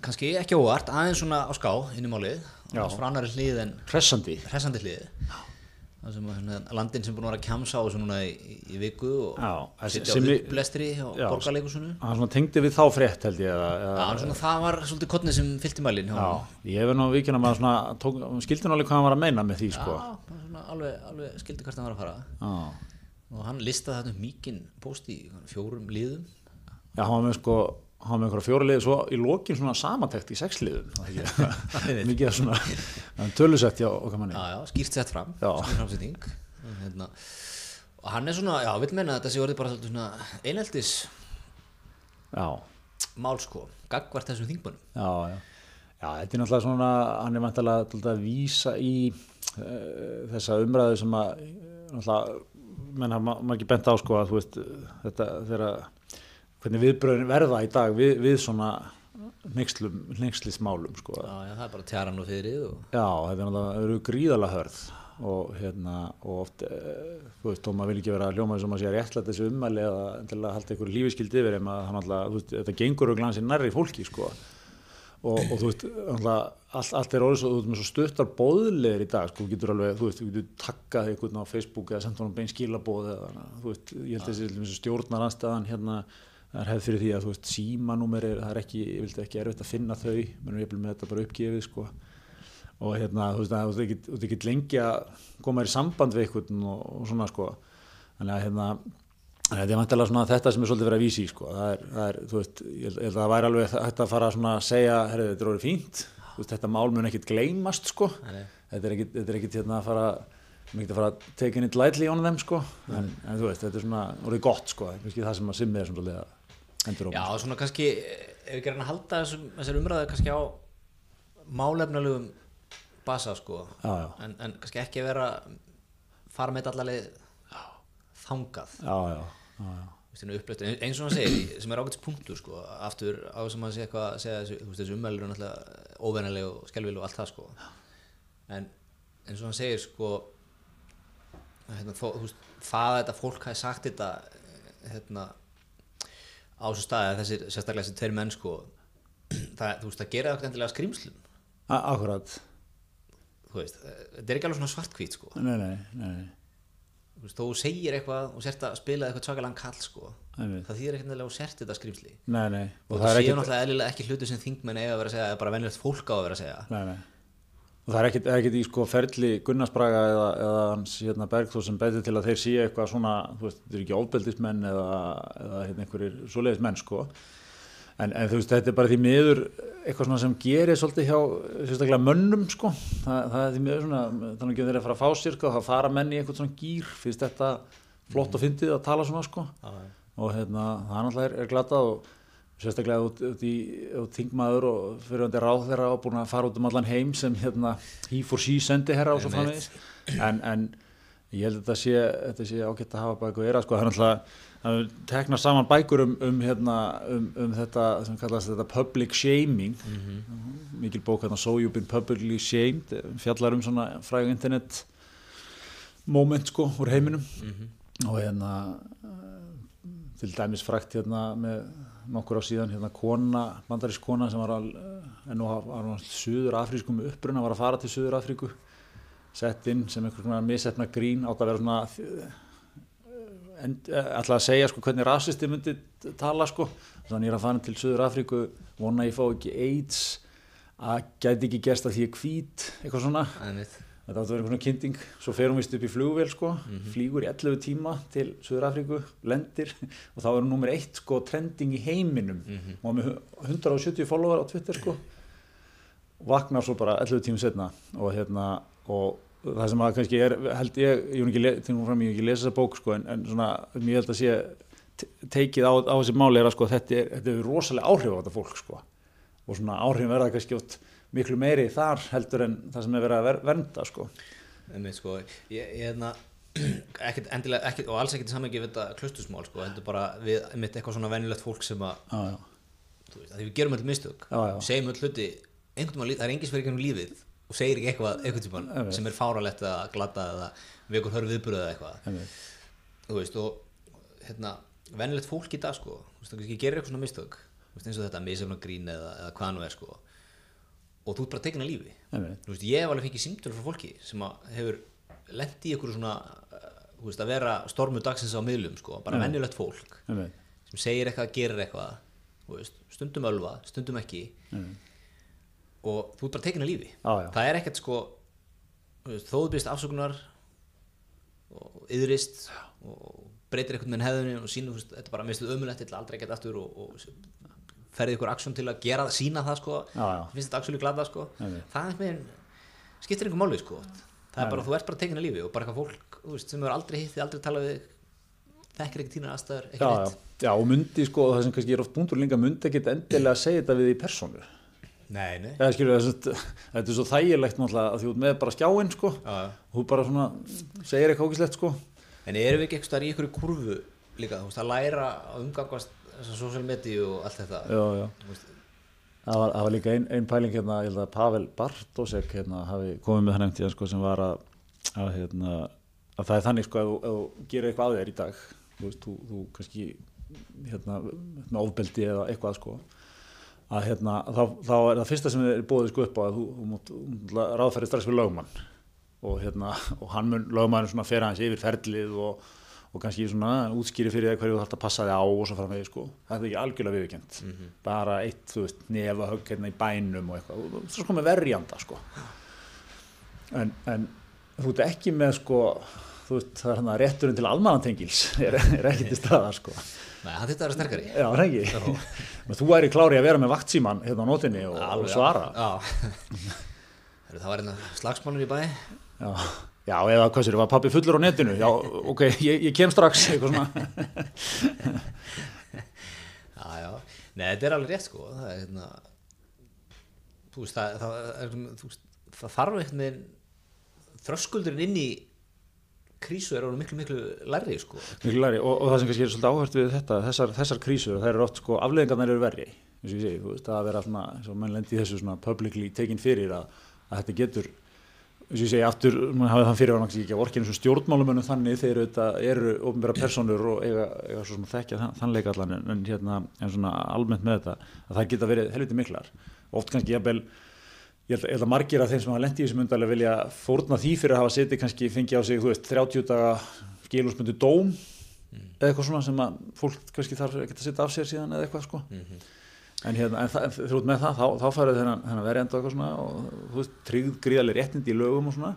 S1: kannski ekki óvart, aðeins svona á ská inn í málið,
S2: Já.
S1: aðeins frá annari hlið en
S2: pressandi,
S1: hressandi hlið það sem að svona, landin sem búin að vera að kjamsa á þessu núna í, í viku og
S2: Já, það sem-
S1: sitja á
S2: sem við-
S1: upplestri á
S2: Já.
S1: borgarleikusinu
S2: hann svona tengdi við þá frétt, held ég, eða,
S1: Já,
S2: eða,
S1: en svona, það var svolítið kottnið sem fylgti mælin hjá
S2: já,
S1: honum.
S2: ég hef nú vikinn að maður svona, tók, skildi nálega hvað hann var að meina með því,
S1: Já,
S2: sko,
S1: það var svona alveg, alveg skildi hvert hann var að fara
S2: já,
S1: og hann listaði þetta um mikinn post í hvað, fjórum liðum
S2: já, hann var með, sko, hann var með einhverja fjóra liði, svo í lokin svona samatekt í sex liðum, það er ekki, mikið af svona, tölusett, já, okkar manni,
S1: já, já, skýrt sett fram
S2: Já.
S1: skýrt framsetning Og hérna, og hann er svona, já, vill meina að þetta sé orðið bara svolítið svona eineltis
S2: já,
S1: mál sko, gagvart þessum þingbönnum
S2: já, já. já, þetta er náttúrulega svona, hann er vantilega dálítið að vísa í uh, þessa umræðu sem að, eh, náttúrulega, menn hafa ma- margir bent á sko að þú veist, eh, þetta þegar að, hvernig viðbröðin verða í dag við, við svona hneykslum, hneykslismálum sko.
S1: já, já, það er bara tjaran og fyrir og
S2: Já, þetta er náttúrulega, það eru gríðalega hörð og hérna, og oft, eh, þú veist, og maður vil ekki vera að hljóma sem að sé að réttlæta þessi ummæli eða endilega halda einhver lífiskildi yfir þeim að hann alltaf, þú veist, þetta gengur og glansi nærri fólki, sko. Og, og þú veist, alltaf, allt, allt er orðið svo, þú veist, með svo stuttar bóðleir í dag, sko, þú getur alveg, þú veist, þú getur taggað einhvern á Facebook eða senda honum bein skilabóð eða, þú veist, ég held að þessi til dæmis, stjórnaranstaðan hérna, það er hefð fyrir því að, þú veist, símanúmer er, það er ekki, ég vildi ekki erfitt að finna þau, mennum ég með þetta bara uppgefið, sko og hérna, þú veist að þú ert ekkit- þú ert ekkert lengi að koma þér í samband við einhvern og, og svona sko þannig að hérna þannig að þetta er vantilega svona þetta sem er svolítið verið að vísi sko, það er, það er þú veist, ég held- ég held að það væri alveg hægt að fara svona að segja, herru þetta er orðið fínt þú veist, þetta mál mun ekkit gleymast sko
S1: Nei.
S2: þetta er ekkit, þetta er ekkit hérna að fara mér ekkert að fara að take it lightly on them sko en, en þú veist, þetta er svona orðið gott sko, það er kannski það sem að simmi er svona svolítið að endur
S1: já, svona kannski, eh, ef ekki er hann að halda þessum, þessar umræðu kannski á málefnalegum basa sko
S2: Já, já.
S1: En, en kannski ekki að vera fara með þetta allalegi þangað
S2: já, já, já, já.
S1: upplöftur, eins og hann segir, sem er ágætis punktur sko, aftur á sem hann segja eitthvað að segja þessu, þú veist, þessu umvælir er náttúrulega óvennileg og skelvileg og allt það sko en eins og hann segir sko hérna, þó, þú veist, það að þetta fólk hafi sagt þetta hérna á þessu staði, að þessir, sérstaklega þessi tveir menn sko það, þú veist, það gera það ekkert endilega skrýmslum
S2: A- akkurat,
S1: þú veist, Eh, þetta er ekki alveg svona svartkvít sko,
S2: nei, nei, nei, nei.
S1: þú veist, þó þú segir eitthvað og sért að spila eitthvað tjakalann kall sko
S2: Einmitt.
S1: það þýðir ekkert endilega og sért þetta skrýmsli
S2: Nei, nei, og
S1: og
S2: það er
S1: séu
S2: ekkit,
S1: náttúrulega eðlilega ekki hlutu sem þingmenn eiga að vera að segja eða bara venjulegt fólk á að vera að segja
S2: nei, nei. Og það er ekkit, er ekkit í sko ferli Gunnarsbraga eða, eða hans hérna, Bergþór sem betur til að þeir séu eitthvað svona, þú veist, þetta er ekki ofbeldismenn eða, eða hérna, einhverjir svoleiðis menn sko. En, en þú veist, þetta er bara því miður eitthvað svona sem gerir svolítið hjá sérstaklega mönnum sko. Þa, það er því miður svona, þannig að þeir eru að fara að fá sér sko, það fara menn í einhvern svona gýr, finnst þetta flott og fyndið að tala svona sko. og hérna, það náttúrulega er, er glatað og sérstaklega út, út í út þingmaður og fyrirhandi ráð þeirra og búin að fara út um allan heim sem hérna he for she sendi herra og svo framvegis en, en ég held að þetta sé, þetta sé ágætt að hafa bara eitthvað eira sko, það er náttúrulega það er tekna saman bækur um, um, hérna, um, um þetta sem kallast þetta public shaming
S1: Mhm,
S2: mikil bók hérna So You've Been Publicly Shamed fjallar um svona fræg internet moment sko úr heiminum
S1: mhm,
S2: og hérna til dæmis frækt hérna með nokkur á síðan hérna kona, bandarísk kona sem var að eh, en nú var hann suður afrískum uppruna, var að fara til suður afríku sett inn sem einhver svona misefna grín átt að vera svona eh, en, eh, ætla að segja sko hvernig rasisti myndi tala sko þannig er að fara til suður afríku vona að ég fá ekki AIDS að gæti ekki gerst að því ég er hvít eitthvað svona
S1: Einmitt.
S2: Þetta átti að vera einhvern svona kynning, svo fer hún vist upp í flugvél sko, flýgur í 11 tíma til Suður Afríku, lendir og þá er hún nummer eitt sko trending í heiminum
S1: Mhm.
S2: og hún er með 170 follower á Twitter sko, vaknar svo bara 11 tíma setna og hérna og það sem að kannski er, held ég, ég hef ekki, le- til hún fram, ég hef ekki lesa þessa bók sko en, en svona, en ég held að sé te- teikið á, á þessi máli er að sko þetta, er, þetta hefur rosalega áhrif á þetta fólk sko og svona áhrifin verða kannski oft miklu meiri þar heldur en það sem er verið að ver vernda sko.
S1: Einmitt, sko, ég, ég hefna ekkert endilega, ekkert, og alls ekkert samengi við þetta klustusmál, sko, heldur bara við einmitt eitthvað svona venjulegt fólk sem að,
S2: Já, já.
S1: þú veist, að því við gerum öll mistök
S2: Já, já.
S1: segjum öll hluti, einhvern tímann, það er engin sverið gennum lífið og segir ekki eitthvað, einhvern tímann sem er fáralegt að glata eða vekur hörfið viðburða eða eitthvað
S2: Einmitt.
S1: þú veist og hérna venjulegt fólk í dag sko þú veist það kannski gerir eitthvað svona mistök þú veist, eins og þetta misefna grín eða, eða hvað nú er sko og þú ert bara tekin að lífi
S2: Einmitt.
S1: þú veist ég hef alveg fengið símtölu frá fólki sem að hefur lent í einhverju svona eh, þú veist að vera stormu dagsins á miðlum sko bara venjulegt fólk
S2: Einmitt.
S1: sem segir eitthvað, gerir eitthvað þú veist, stundum ölva, stundum ekki og þú ert bara tekin að lífi
S2: Já, já.
S1: það er ekkert sko þú veist, þó þú byrst afsökunar og yðrist og breytir eitthvað með hefðunni og sínum, þú veist, þetta er bara mistuð ömulegt til aldrei ekkert aftur og, og ferðið ykkur aksjón til að gera það, sína það sko
S2: Já, já.
S1: finnst þetta aksjóli glada sko
S2: Nei, nei.
S1: það er með, skiptir einhver máli sko það er bara, þú ert bara tekin að lífi og bara eitthvað fólk þú veist, sem hefur aldrei hitt, þið aldrei talað við þekkir ekki tína aðstæður, ekki
S2: Já, já.
S1: neitt
S2: já, og myndi sko, það sem kannski er oft búndur líka, myndi ekkit endilega að segja þetta við í persónu.
S1: Nei, nei
S2: Eða skilur þetta, þetta er svo þægilegt náttúrulega að því út með bara skjáinn sko,
S1: já.
S2: þú bara svona segir eitthvað ógislegt sko.
S1: En erum við ekki eitthvað í einhverju kurvu líka, þú veist, að læra að umgangast þessar social media og allt þetta
S2: Já, já.
S1: Þú veist,
S2: Það var, það var líka ein, ein pæling hérna, ég held að Pavel Bartosek hérna, hafi komið með það nefnt í hann sko, sem var að, að, hérna, að það er þannig sko, ef þú- ef þú gerir eitthvað að þér í dag þú, veist, þú, þú kannski hérna, með ofbeldi eða eitthvað sko, að hérna, þá, þá er það fyrsta sem er bóðið sko, upp á að þú, þú mútt ráðferði strax við lögumann og, hérna, og hann mun lögumann svona fer hans yfir ferlið og, og kannski svona útskýri fyrir þér hverju þú þarf að passa þig á og svo framvegi sko, þetta er ekki algjörlega viðurkend bara eitt, þú veist, nefa högg hérna í bænum og eitthvað, þú- þú svo sko með verjanda sko en, en þú ert ekki með sko þú veist, það er hann að rétturinn til almanantengils er, er ekki til staðar sko
S1: Nei, hann þetta að vera sterkari
S2: já, er það ekki, Men þú væri klári að vera með vaktsíman hérna á nótinni og, og
S1: Alveg,
S2: svara
S1: Já Heyrðu, Það var einna slagsmálur í bæ
S2: já, já eða hvað sér, var pappi fullur á netinu já, ok, ég, ég kem strax eitthvað svona,
S1: Já, já Nei, þetta er alveg rétt sko Það er hérna Þú veist, það, það, er, þú veist, það þarf eitthvað með þröskuldurinn inn í krísu er orðið miklu, miklu lærri sko
S2: miklu læri og, og það sem kannski er svolítið áhört við þetta þessar, þessar krísur, það eru oft sko afleðingarnar eru verri, eins og ég segi, þú veist, það að vera svona, eins og menn lendi í þessu svona publicly tekin fyrir að, að þetta getur eins og ég segi aftur, mann hafið þann fyrir kannski ekki að orkinu sem stjórnmálumönnum þannig þeir þetta eru ofnbæra personur og eiga, eiga svo sem að þekkja þann, þann leik allan en, en hérna, en svona almennt með þetta að það geta verið helviti miklar oft kannski jafnvel Ég held, ég held að margir af þeim sem hafa lent í þessum undarlega vilja fórna því fyrir að hafa setið kannski fengið á sig, þú veist, 30 daga skilúsmyndu dóm eða eitthvað svona sem að fólk kannski þarf ekki að setja af sér síðan eða eitthvað sko en, hérna, en, það, en þú veist með það, þá, þá færðu þennan, þennan verið enda eitthvað svona og þú veist, tryggð gríðaleg réttindi í lögum og svona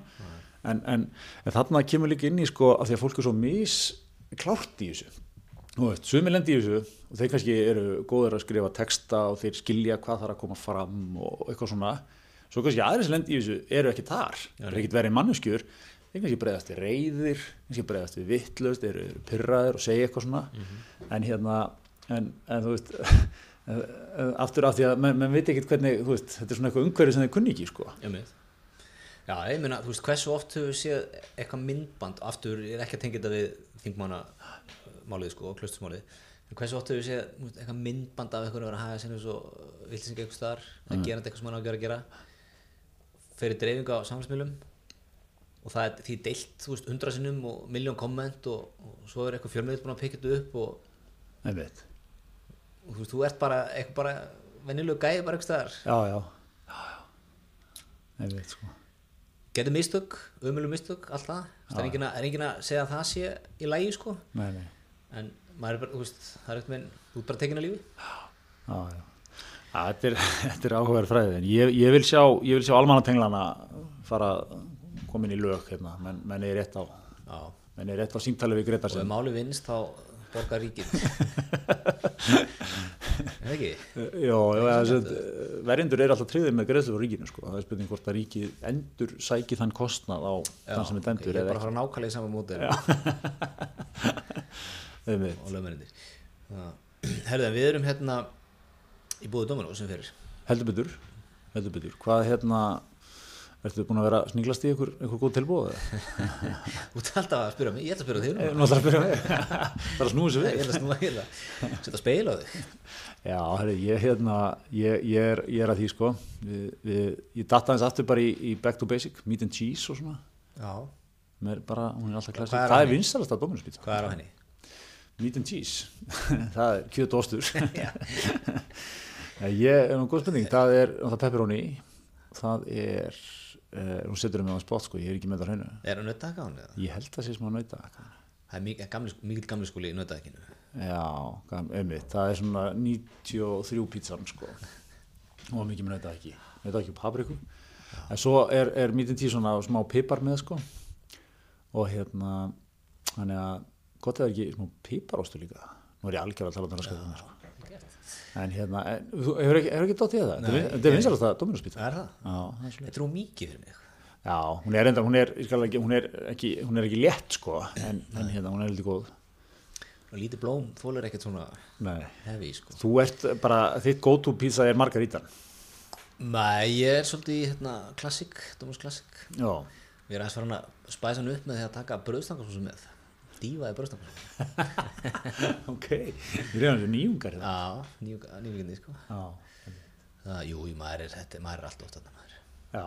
S2: en, en, en þarna kemur líka inn í sko af því að fólk er svo misklárt í þessu þú veist, sumir lendi í þessu og þeir kannski eru góður að skrifa texta og þeir skilja hvað þarf að koma fram og eitthvað svona svo kannski aðrir sem lendi í þessu eru ekki þar eru ekkit verið manneskjur þeir kannski breyðast við reyðir kannski breyðast við vittlust, eru, eru pyrraðir og segja eitthvað svona en hérna en, en þú veist en, en aftur af því að menn, menn veit ekkit hvernig þú veist, þetta er svona eitthvað umhverju sem þeir kunni ekki sko.
S1: Já, Já, ég meina, þú veist, hversu oft hefur við séð eitthvað myndband, aftur, ég er ekki að tengja þetta við þingmanna uh, málið, sko, klustusmálið, en hversu oft hefur við séð þú veist, eitthvað myndband af eitthvað að vera að haga sinni svo viltisingi eitthvað staðar, að gera þetta eitthvað sem hann á að gera að gera, fyrir dreifingu á samfélagsmiðlum og það er því deilt, þú veist, hundra sinnum og miljón komment og, og svo er eitthvað fjölmiðl búin að pikka þetta upp og,
S2: einmitt
S1: og þú veist, þú ert bara, eitthvað bara, venjulegu gæði bara eitthvað staðar
S2: já, já ég veit sko
S1: gerði mistök, ömulum mistök, allt það Þú veist, það er enginn að- er enginn að segja að það sé í lægi sko
S2: nei, nei,
S1: en maður er bara, þú veist, það er ekkert með þú ert bara tekin að lífi
S2: já, já Á, þetta, er, þetta er áhugaverð fræði en ég, ég vil sjá, ég vil sjá almannatenglana fara komin í lög hérna, menn, menn er rétt á
S1: Já.
S2: menn er rétt á símtali við Gretar
S1: og ef
S2: sem
S1: máli vinnst þá borgar ríkið er það ekki?
S2: Jó, já, þessi, verjendur eru alltaf tryggðir með greiðslu frá ríkinu sko. það er spurning hvort að ríkið endur sæki þann kostnað á þann sem er
S1: ok, ég
S2: dæmdur
S1: er
S2: eða
S1: bara að fara nákvæmlega í sama móti og
S2: ekki Einmitt.
S1: lögmennir herðu, en við erum hérna í búið dóminu sem fyrir
S2: heldur betur, heldur betur. hvað hérna ertu búin að vera að sninglast í einhver, einhver góð tilbúð eða?
S1: þú ert alltaf að spyrja mig, ég ætla að spyrja þig
S2: Eh,
S1: núna.
S2: náttúrulega að spyrja mig það er að snúið
S1: ég
S2: sér við
S1: ætla að snúa ég ætla að setja speil á þig
S2: Já, herri, ég, hérna, ég, ég, er, ég er að því sko við, við, ég datta aðeins aftur bara í, í Back to Basic, Meat and Cheese og svona
S1: já,
S2: Hún er bara, hún er alltaf klassik
S1: Hvað er á
S2: það er
S1: henni?
S2: vinsalast að Dominus pizza
S1: hvað er á henni?
S2: Meat and Cheese, það er kjöt og ostur
S1: Já.
S2: Nei, Ég, um, góð spurning, það er um, það pepperoni, það er uh, hún setur um með á spott sko, ég er ekki með það á hreinu
S1: er hann nöttaka á henni? eða?
S2: ég held það sé smá nauta
S1: það er mikið gamli, mikið gamli skóli í nöttakinu
S2: Já, ömmið, það er svona 93 pítsan sko og mikið með nauta ekki nauta ekki papriku en svo er, er mítinn tíð svona smá pipar með sko og hérna þannig að gott eða ekki smá piparostu líka nú er ég algjör að tala um þennan sko þarna, sko en hérna, en, þú hefur ekki, hefur ekki dottið í það Þetta er vin- þetta er vinsalast að Dominus pizza
S1: það er það
S2: Já, það er svolítið.
S1: þetta er hún mikið fyrir mig
S2: Já, hún er enda, hún er, ég skal ekki, hún er ekki, hún er ekki létt sko, en, en hérna, hún er heldur góð.
S1: og lítið blóm þólar ekkert svona
S2: Nei.
S1: hefi sko
S2: Þú ert bara, þitt go-to pizza er margarítan.
S1: Nei, ég er svolítið í hérna klassik, Dómus klassik
S2: Já,
S1: Ég er aðeins farin að spæsa hann upp með því að taka bröðstangarsósu með Dífaði bröðstangarsósu
S2: ok. Við reyðum þessu nýjungar hérna.
S1: Já, nývíkindi sko
S2: Já,
S1: Það, jú, jú, maður er, þetta, maður er allt oft þarna maður
S2: já,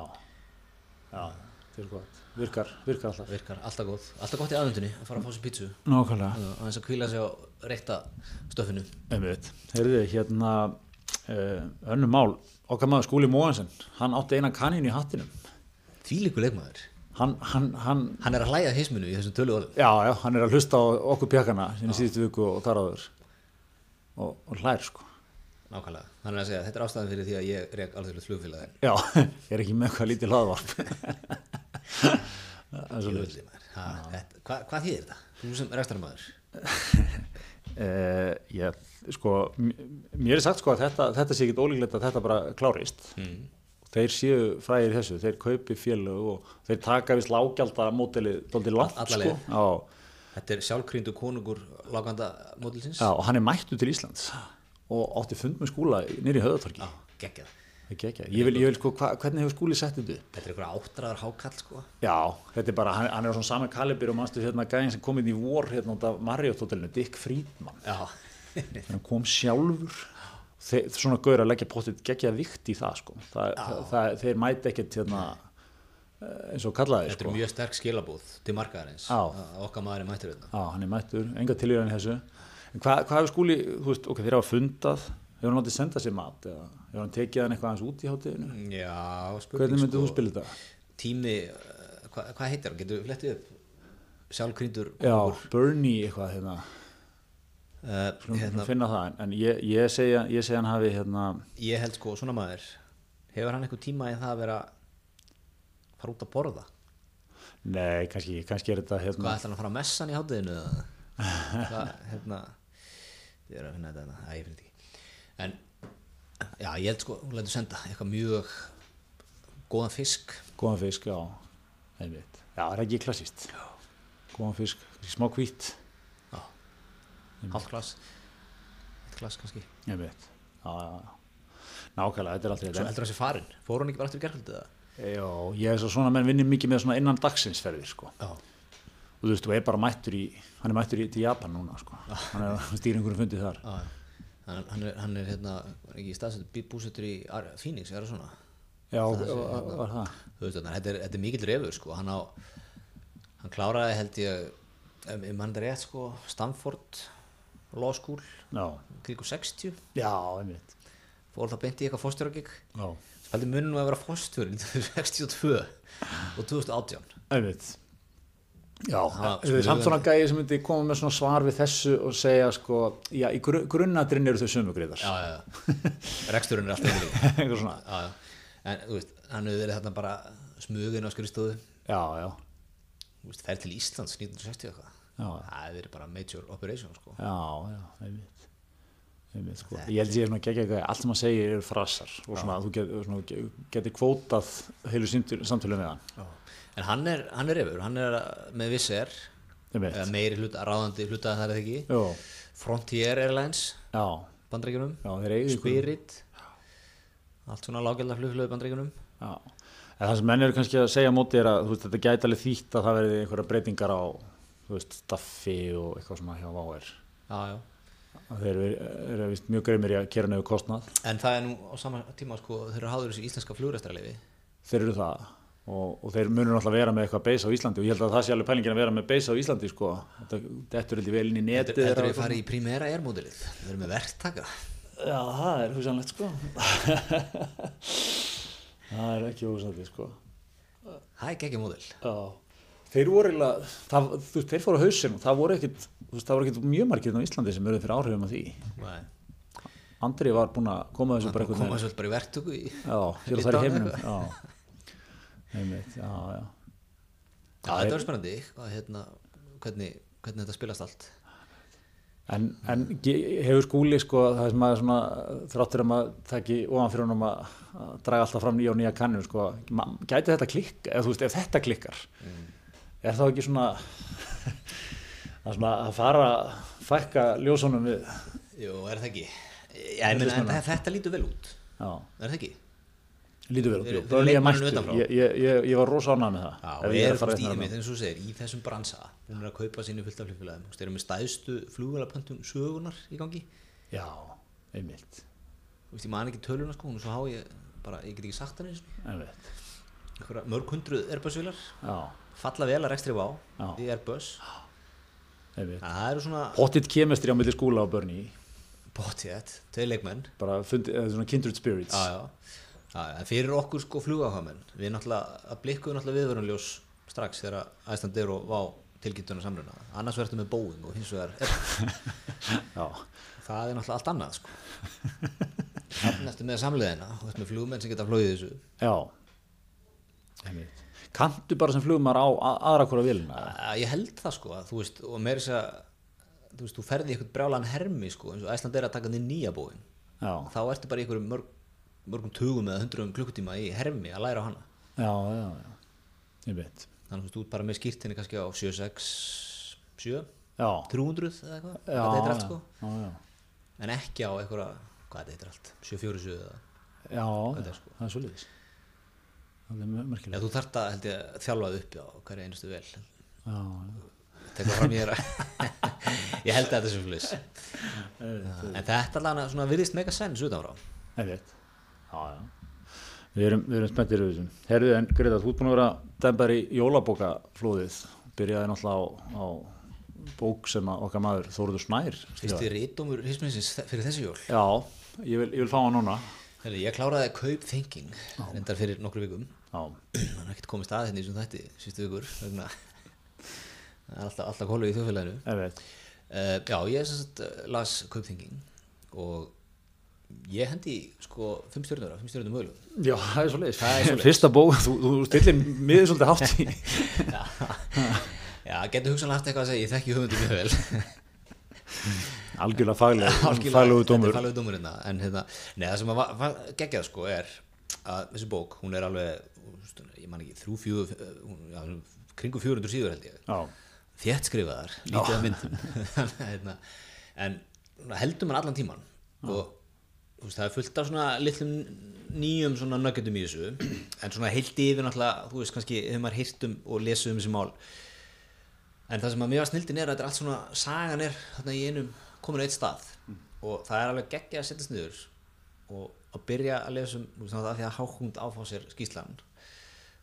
S2: já, þetta er gott. Virkar, virkar alltaf.
S1: Það virkar alltaf gott, alltaf gott í aðvendunni að fara að fá sér pítsu
S2: Nákvæmlega.
S1: og aðeins að kvíla sig á reykta stöfinu
S2: Einmitt. Herðu, hérna, uh, önnum mál, okkar maður Skúli Móhansen, hann átti eina kanin í hattinum.
S1: Þvílíku leikmaður
S2: Hann, hann, hann,
S1: Hann er að hlæja að hisminu í þessum tölu orðum
S2: já, já, hann er að hlusta á okkur pjakana sinni síðustu viku og þar áður. Og, og hlær, sko.
S1: Nákvæmlega, hann er að segja, þetta er ástæðan fyrir því að ég reyk alþjóðlega flugfélagin
S2: Já, ég er ekki með eitthvað lítið hlaðvarp. Það er svolítið.
S1: Hvað hva þýðir þetta? Þú sem rekstarmaður
S2: Uh, ég, sko, m- mér er sagt sko að þetta, þetta sé ekkit ólíklegt að þetta bara klárist mm. þeir séu fræðir þessu þeir kaupi félög og þeir taka við slágjaldara mótilið dóldi langt
S1: Alla
S2: sko.
S1: leið.
S2: já,
S1: Þetta er sjálfkrýndu konungur laganda mótilsins
S2: já, og hann er mættu til Íslands og átti fund með skúla nýri höðatorki
S1: Já, geggjað
S2: ég, ég vil, ég vil sko, hva, hvernig hefur skúli sett þetta upp?
S1: Þetta er einhverja áttræðar hákall sko
S2: já, þetta er bara, hann, hann er á svona saman kalibir og mannstu hérna gæðin sem kom inn í vor hérna út af Marriott-hotellinu, Dick Friedman
S1: Já
S2: hann kom sjálfur þeir, svona gaur að leggja potið geggja vikt í það sko Þa, það, þeir mæti ekkert hérna, eh, eins og kallaði
S1: Þetta
S2: sko
S1: er mjög sterk skilabúð til markaðarins
S2: Já.
S1: að okkar maður er mættur hérna. þetta
S2: á, hann er mættur, enga tilýrðan þessu en hvað hva hefur skúli, þú veist, ok, þeir hafa fundað hefur hann átti sendað sér mat eða hefur hann tekið hann eitthvað hans út í hátíðinu
S1: Já, spurning
S2: hvernig myndið þú spila þetta?
S1: Tími, uh, hva, hvað heitir hann? Getur við flettið upp? Sjálfkrýndur
S2: Já, Bernie eitthvað hérna,
S1: uh,
S2: hérna. finna það, en- en ég, ég segja ég segja hann hafi hérna
S1: Ég held sko, svona maður Hefur hann eitthvað tíma í það að vera fara út að borða?
S2: nei, kannski, kannski er þetta
S1: Hvað
S2: hérna,
S1: ætlar hann að fara að messa hann í hátíðinu? eða? Hvað, hérna, ég er að finna þetta, hérna, Æ, ég finn þetta ekki. En, já, ég held sko, hún lætur senda eitthvað mjög góðan fisk.
S2: góðan fisk, já einmitt, já, það er ekki klassist góðan fisk, smá hvít
S1: Já, halvt glas, eitt glas kannski.
S2: einmitt, já, já, já nákvæmlega, þetta er aldrei
S1: Svo
S2: þetta
S1: heldur hann sér farinn, fór hann ekki bara aftur í gerkvöldið það?
S2: já, ég er svo svona menn vinnir mikið með svona innan dagsinsferðir, sko
S1: Já.
S2: og þú veist, þú er bara mættur í, hann er mættur í til Japan núna, sko, hann er hann stýrir einhverjum fundið þar,
S1: Já, hann, hann, er, hann er hérna, var ekki í staðsettur, búsettur í Ar- Phoenix, er það svona?
S2: já, var var það
S1: þú veist þarna, þetta er, þetta er mikill refur sko, hann á hann kláraði held ég um, um hann er rétt sko, Stanford Law School,
S2: já,
S1: kringu 60
S2: já, einmitt
S1: fór það beint í eitthvað fórstjóragik
S2: já,
S1: Haldi munum að vera fórstjóri 1962 og 2018
S2: Einmitt. Já,
S1: Ha,
S2: það er samt
S1: spurðu
S2: svona gæði sem myndi koma með svona svar við þessu og segja sko, já, í gru, grunnadrinn eru þau sömugriðar.
S1: Já, já, já Reksturinn er alltaf líka
S2: Eitthvað svona.
S1: já, já. En þú veist, hann hefur verið þarna bara smugin á skrifstofu
S2: Já, já,
S1: Þú veist, fer til Íslands 1960 eitthvað
S2: Já.
S1: Það hefur verið bara major operation sko.
S2: já, já, einmitt. Einmitt, sko. Ég held að ég er svona geggja eitthvað, allt sem maður segir eru frasar og svona, þú get, svona, ge- getur kvótað heilu símtöl- samtölu með hann.
S1: En hann er, hann er yfir, hann er að- með Visser
S2: Einmitt.
S1: eða meiri hluta, ráðandi hluta það er það ekki
S2: Jó,
S1: Frontier Airlines,
S2: já,
S1: bandrækjunum
S2: já, þeir eigið
S1: Spirit Allt svona lágælda flugflöðu bandrækjunum
S2: Já, en það sem menn eru kannski að segja á móti er að þú veist, þetta gæti alveg þýtt að það verði einhverja breytingar á, þú veist, staffi og eitthvað svona hjá váir.
S1: Já, já
S2: að Þeir eru, eru vist mjög greimir í að kera nefnir kostnað.
S1: En það er nú á sama tíma sko, þeir eru háður þessu íslenska flugrestraliði
S2: Þeir eru það og, og þeir munur alltaf vera með eitthvað beis á Íslandi og ég held að það sé alveg pælingin að vera með beis á Íslandi sko. Þetta dettur heldur vel inn í netið.
S1: Þetta er
S2: þeirra
S1: að fara í primera airmódulið Við erum með verktaka
S2: Já, það er hugsanlegt sko. það er ekki hugsanlegt sko.
S1: Það er geggjum módul
S2: Já. Þeir voru eiginlega, það, þú veist, þeir fóru á hausinn og það voru ekkit, þú veist, það voru ekkit mjög margir hérna á Íslandi sem verið fyrir áhrifum af því. Andri var búinn að koma þessu bara eitthvað
S1: Koma svolítið bara í verktöku í
S2: Já, hér og
S1: Í
S2: þar í
S1: dag
S2: heiminum Já, einmitt, já, já
S1: Já, þetta var spennandi hvað, hérna, hvernig, hvernig þetta spilast allt
S2: En, en ge- hefur skúli sko það sem maður svona þráttur um að maður taki ofan fyrir honum að, að draga alltaf fram nýja og nýja kannum sko, ma- gæti þetta klikk, eða þú veist, ef þetta klikkar er þá ekki svona að svona að fara að fækka ljósunum við
S1: Jú, er það ekki? Já, ég meina, en það- þetta lítur vel út
S2: Já,
S1: Er það ekki?
S2: lítur vel út,
S1: Fyrir-
S2: jú,
S1: fyrir
S2: það var nýja
S1: leikmanninn
S2: mættur
S1: utanfrá.
S2: ég, ég, ég, ég var rosa ánað með það
S1: Já,
S2: ef
S1: og
S2: ég er
S1: er
S2: að fara
S1: fyrst í
S2: hérna með.
S1: mig, eins og þú segir, í þessum bransa hún er að kaupa sínu fullt af flugfélagum þú veist, erum með stæðstu flugvélapöntum sögunar í gangi
S2: Já, einmitt,
S1: þú veist, ég man ekki töluna sko, hún er svo há ég bara, ég get ekki sagt sko. hann eins
S2: einmitt
S1: einhverja mörg hundruð Airbus-vélar
S2: Já,
S1: falla vel að rekstri vá
S2: Já.
S1: í Airbus Þannig að
S2: einmitt
S1: það eru svona
S2: Pottit kemestri á milli skúla og börni
S1: bótið, tvei leikmenn
S2: bara fundi, eða svona kindred spirits
S1: já, já. Já, já, en fyrir okkur sko flugahamenn við náttúrulega, að blikkuðu náttúrulega viðvörunljós strax þegar að æslandir og vá tilkynntunar samruna, annars verður með bóðum og hins vegar,
S2: Já,
S1: það er náttúrulega allt annað sko næstu með samleðina og þetta með flugmenn sem geta flóið þessu
S2: já. Einmitt. Kanntu bara sem flugumar á a- aðra hvora vilina
S1: Að ég held það sko, að, þú veist, og meiri þess að þú veist, þú ferði í eitthvað brjálan hermi sko, eins og æslandir að taka þér nýja bóðin
S2: Já,
S1: þá ertu bara í einhverjum mörg, mörgum tugum eða hundruðum klukkutíma í hermi að læra á hana
S2: já, já, já Einmitt
S1: þannig að þú ert bara með skýrtinni kannski á 7, 7,
S2: Já,
S1: 300 eða eitthvað,
S2: já,
S1: hvað þetta heitir allt sko
S2: já, já,
S1: en ekki á einhverja, hvað þetta heitir allt 747 eða,
S2: já, já,
S1: er
S2: það er sko. svolítið Það er
S1: eða
S2: merkilegt
S1: þú þarft að held ég þjálfað upp á hverja einustu vel
S2: Já, já
S1: tekur fram ég er að ég held að þetta sem flis en þetta allan að svona virðist mega sens utanfrá
S2: Einmitt Já, já Við erum, við erum spenntir yfir þessum. Herðu, en Greta, þú ert búin að vera dæmbar í jólabókaflóðið. Byrjaði náttúrulega á, á bók sem að okkar maður Þóruður Snær. skrifaði.
S1: fyrst við rítumur hisminsins fyrir þessi jól
S2: Já, ég vil, ég vil fá hann núna.
S1: Heyrðu, ég kláraði kaup thinking reyndar fyrir nokkru vikum
S2: Já,
S1: hann er ekkert komist að hérna í svona þætti sístu vikur vegna það er alltaf, alltaf kólu í þjóðfélaginu
S2: einmitt.
S1: Uh, já, ég sem sagt eh, las Kaupþingin og ég hendi sko fimm stjórnur af fimm stjórnum mögulegum.
S2: Já, það er svolítið.
S1: Það er svoleiðis.
S2: Fyrsta bók, þú, þú stillir miður svolítið hátt í.
S1: já, já, getur hugsanlega haft eitthvað að segja, ég þekki höfundum mjög vel.
S2: Algjörlega fagleg,
S1: Algjörlega,
S2: faglegu
S1: Þetta
S2: dómur.
S1: er faglegu dómur hérna, en hérna, neða sem að va- va- geggjað sko er að þessi bók, hún er alveg, þú veist, ég man ekki, þrjú, fjú, já, kringu 400 síður held ég.
S2: Já,
S1: þétt skrifaðar, lítið að myndum Þannig að, hérna, en svona heldur mann allan tíman og þú veist, það er fullt af svona litlum nýjum svona nuggetum í þessu en svona heilt yfir náttúrulega, þú veist kannski hefur maður heyrt um og lesið um þessi mál en það sem að mjög að snildin er að þetta er allt svona, sagan er þarna í einum komin á eitt stað og það er alveg geggja að setjast niður og að byrja að lesa um þú veist, náttúrulega af því að hákund áfá sér skýslan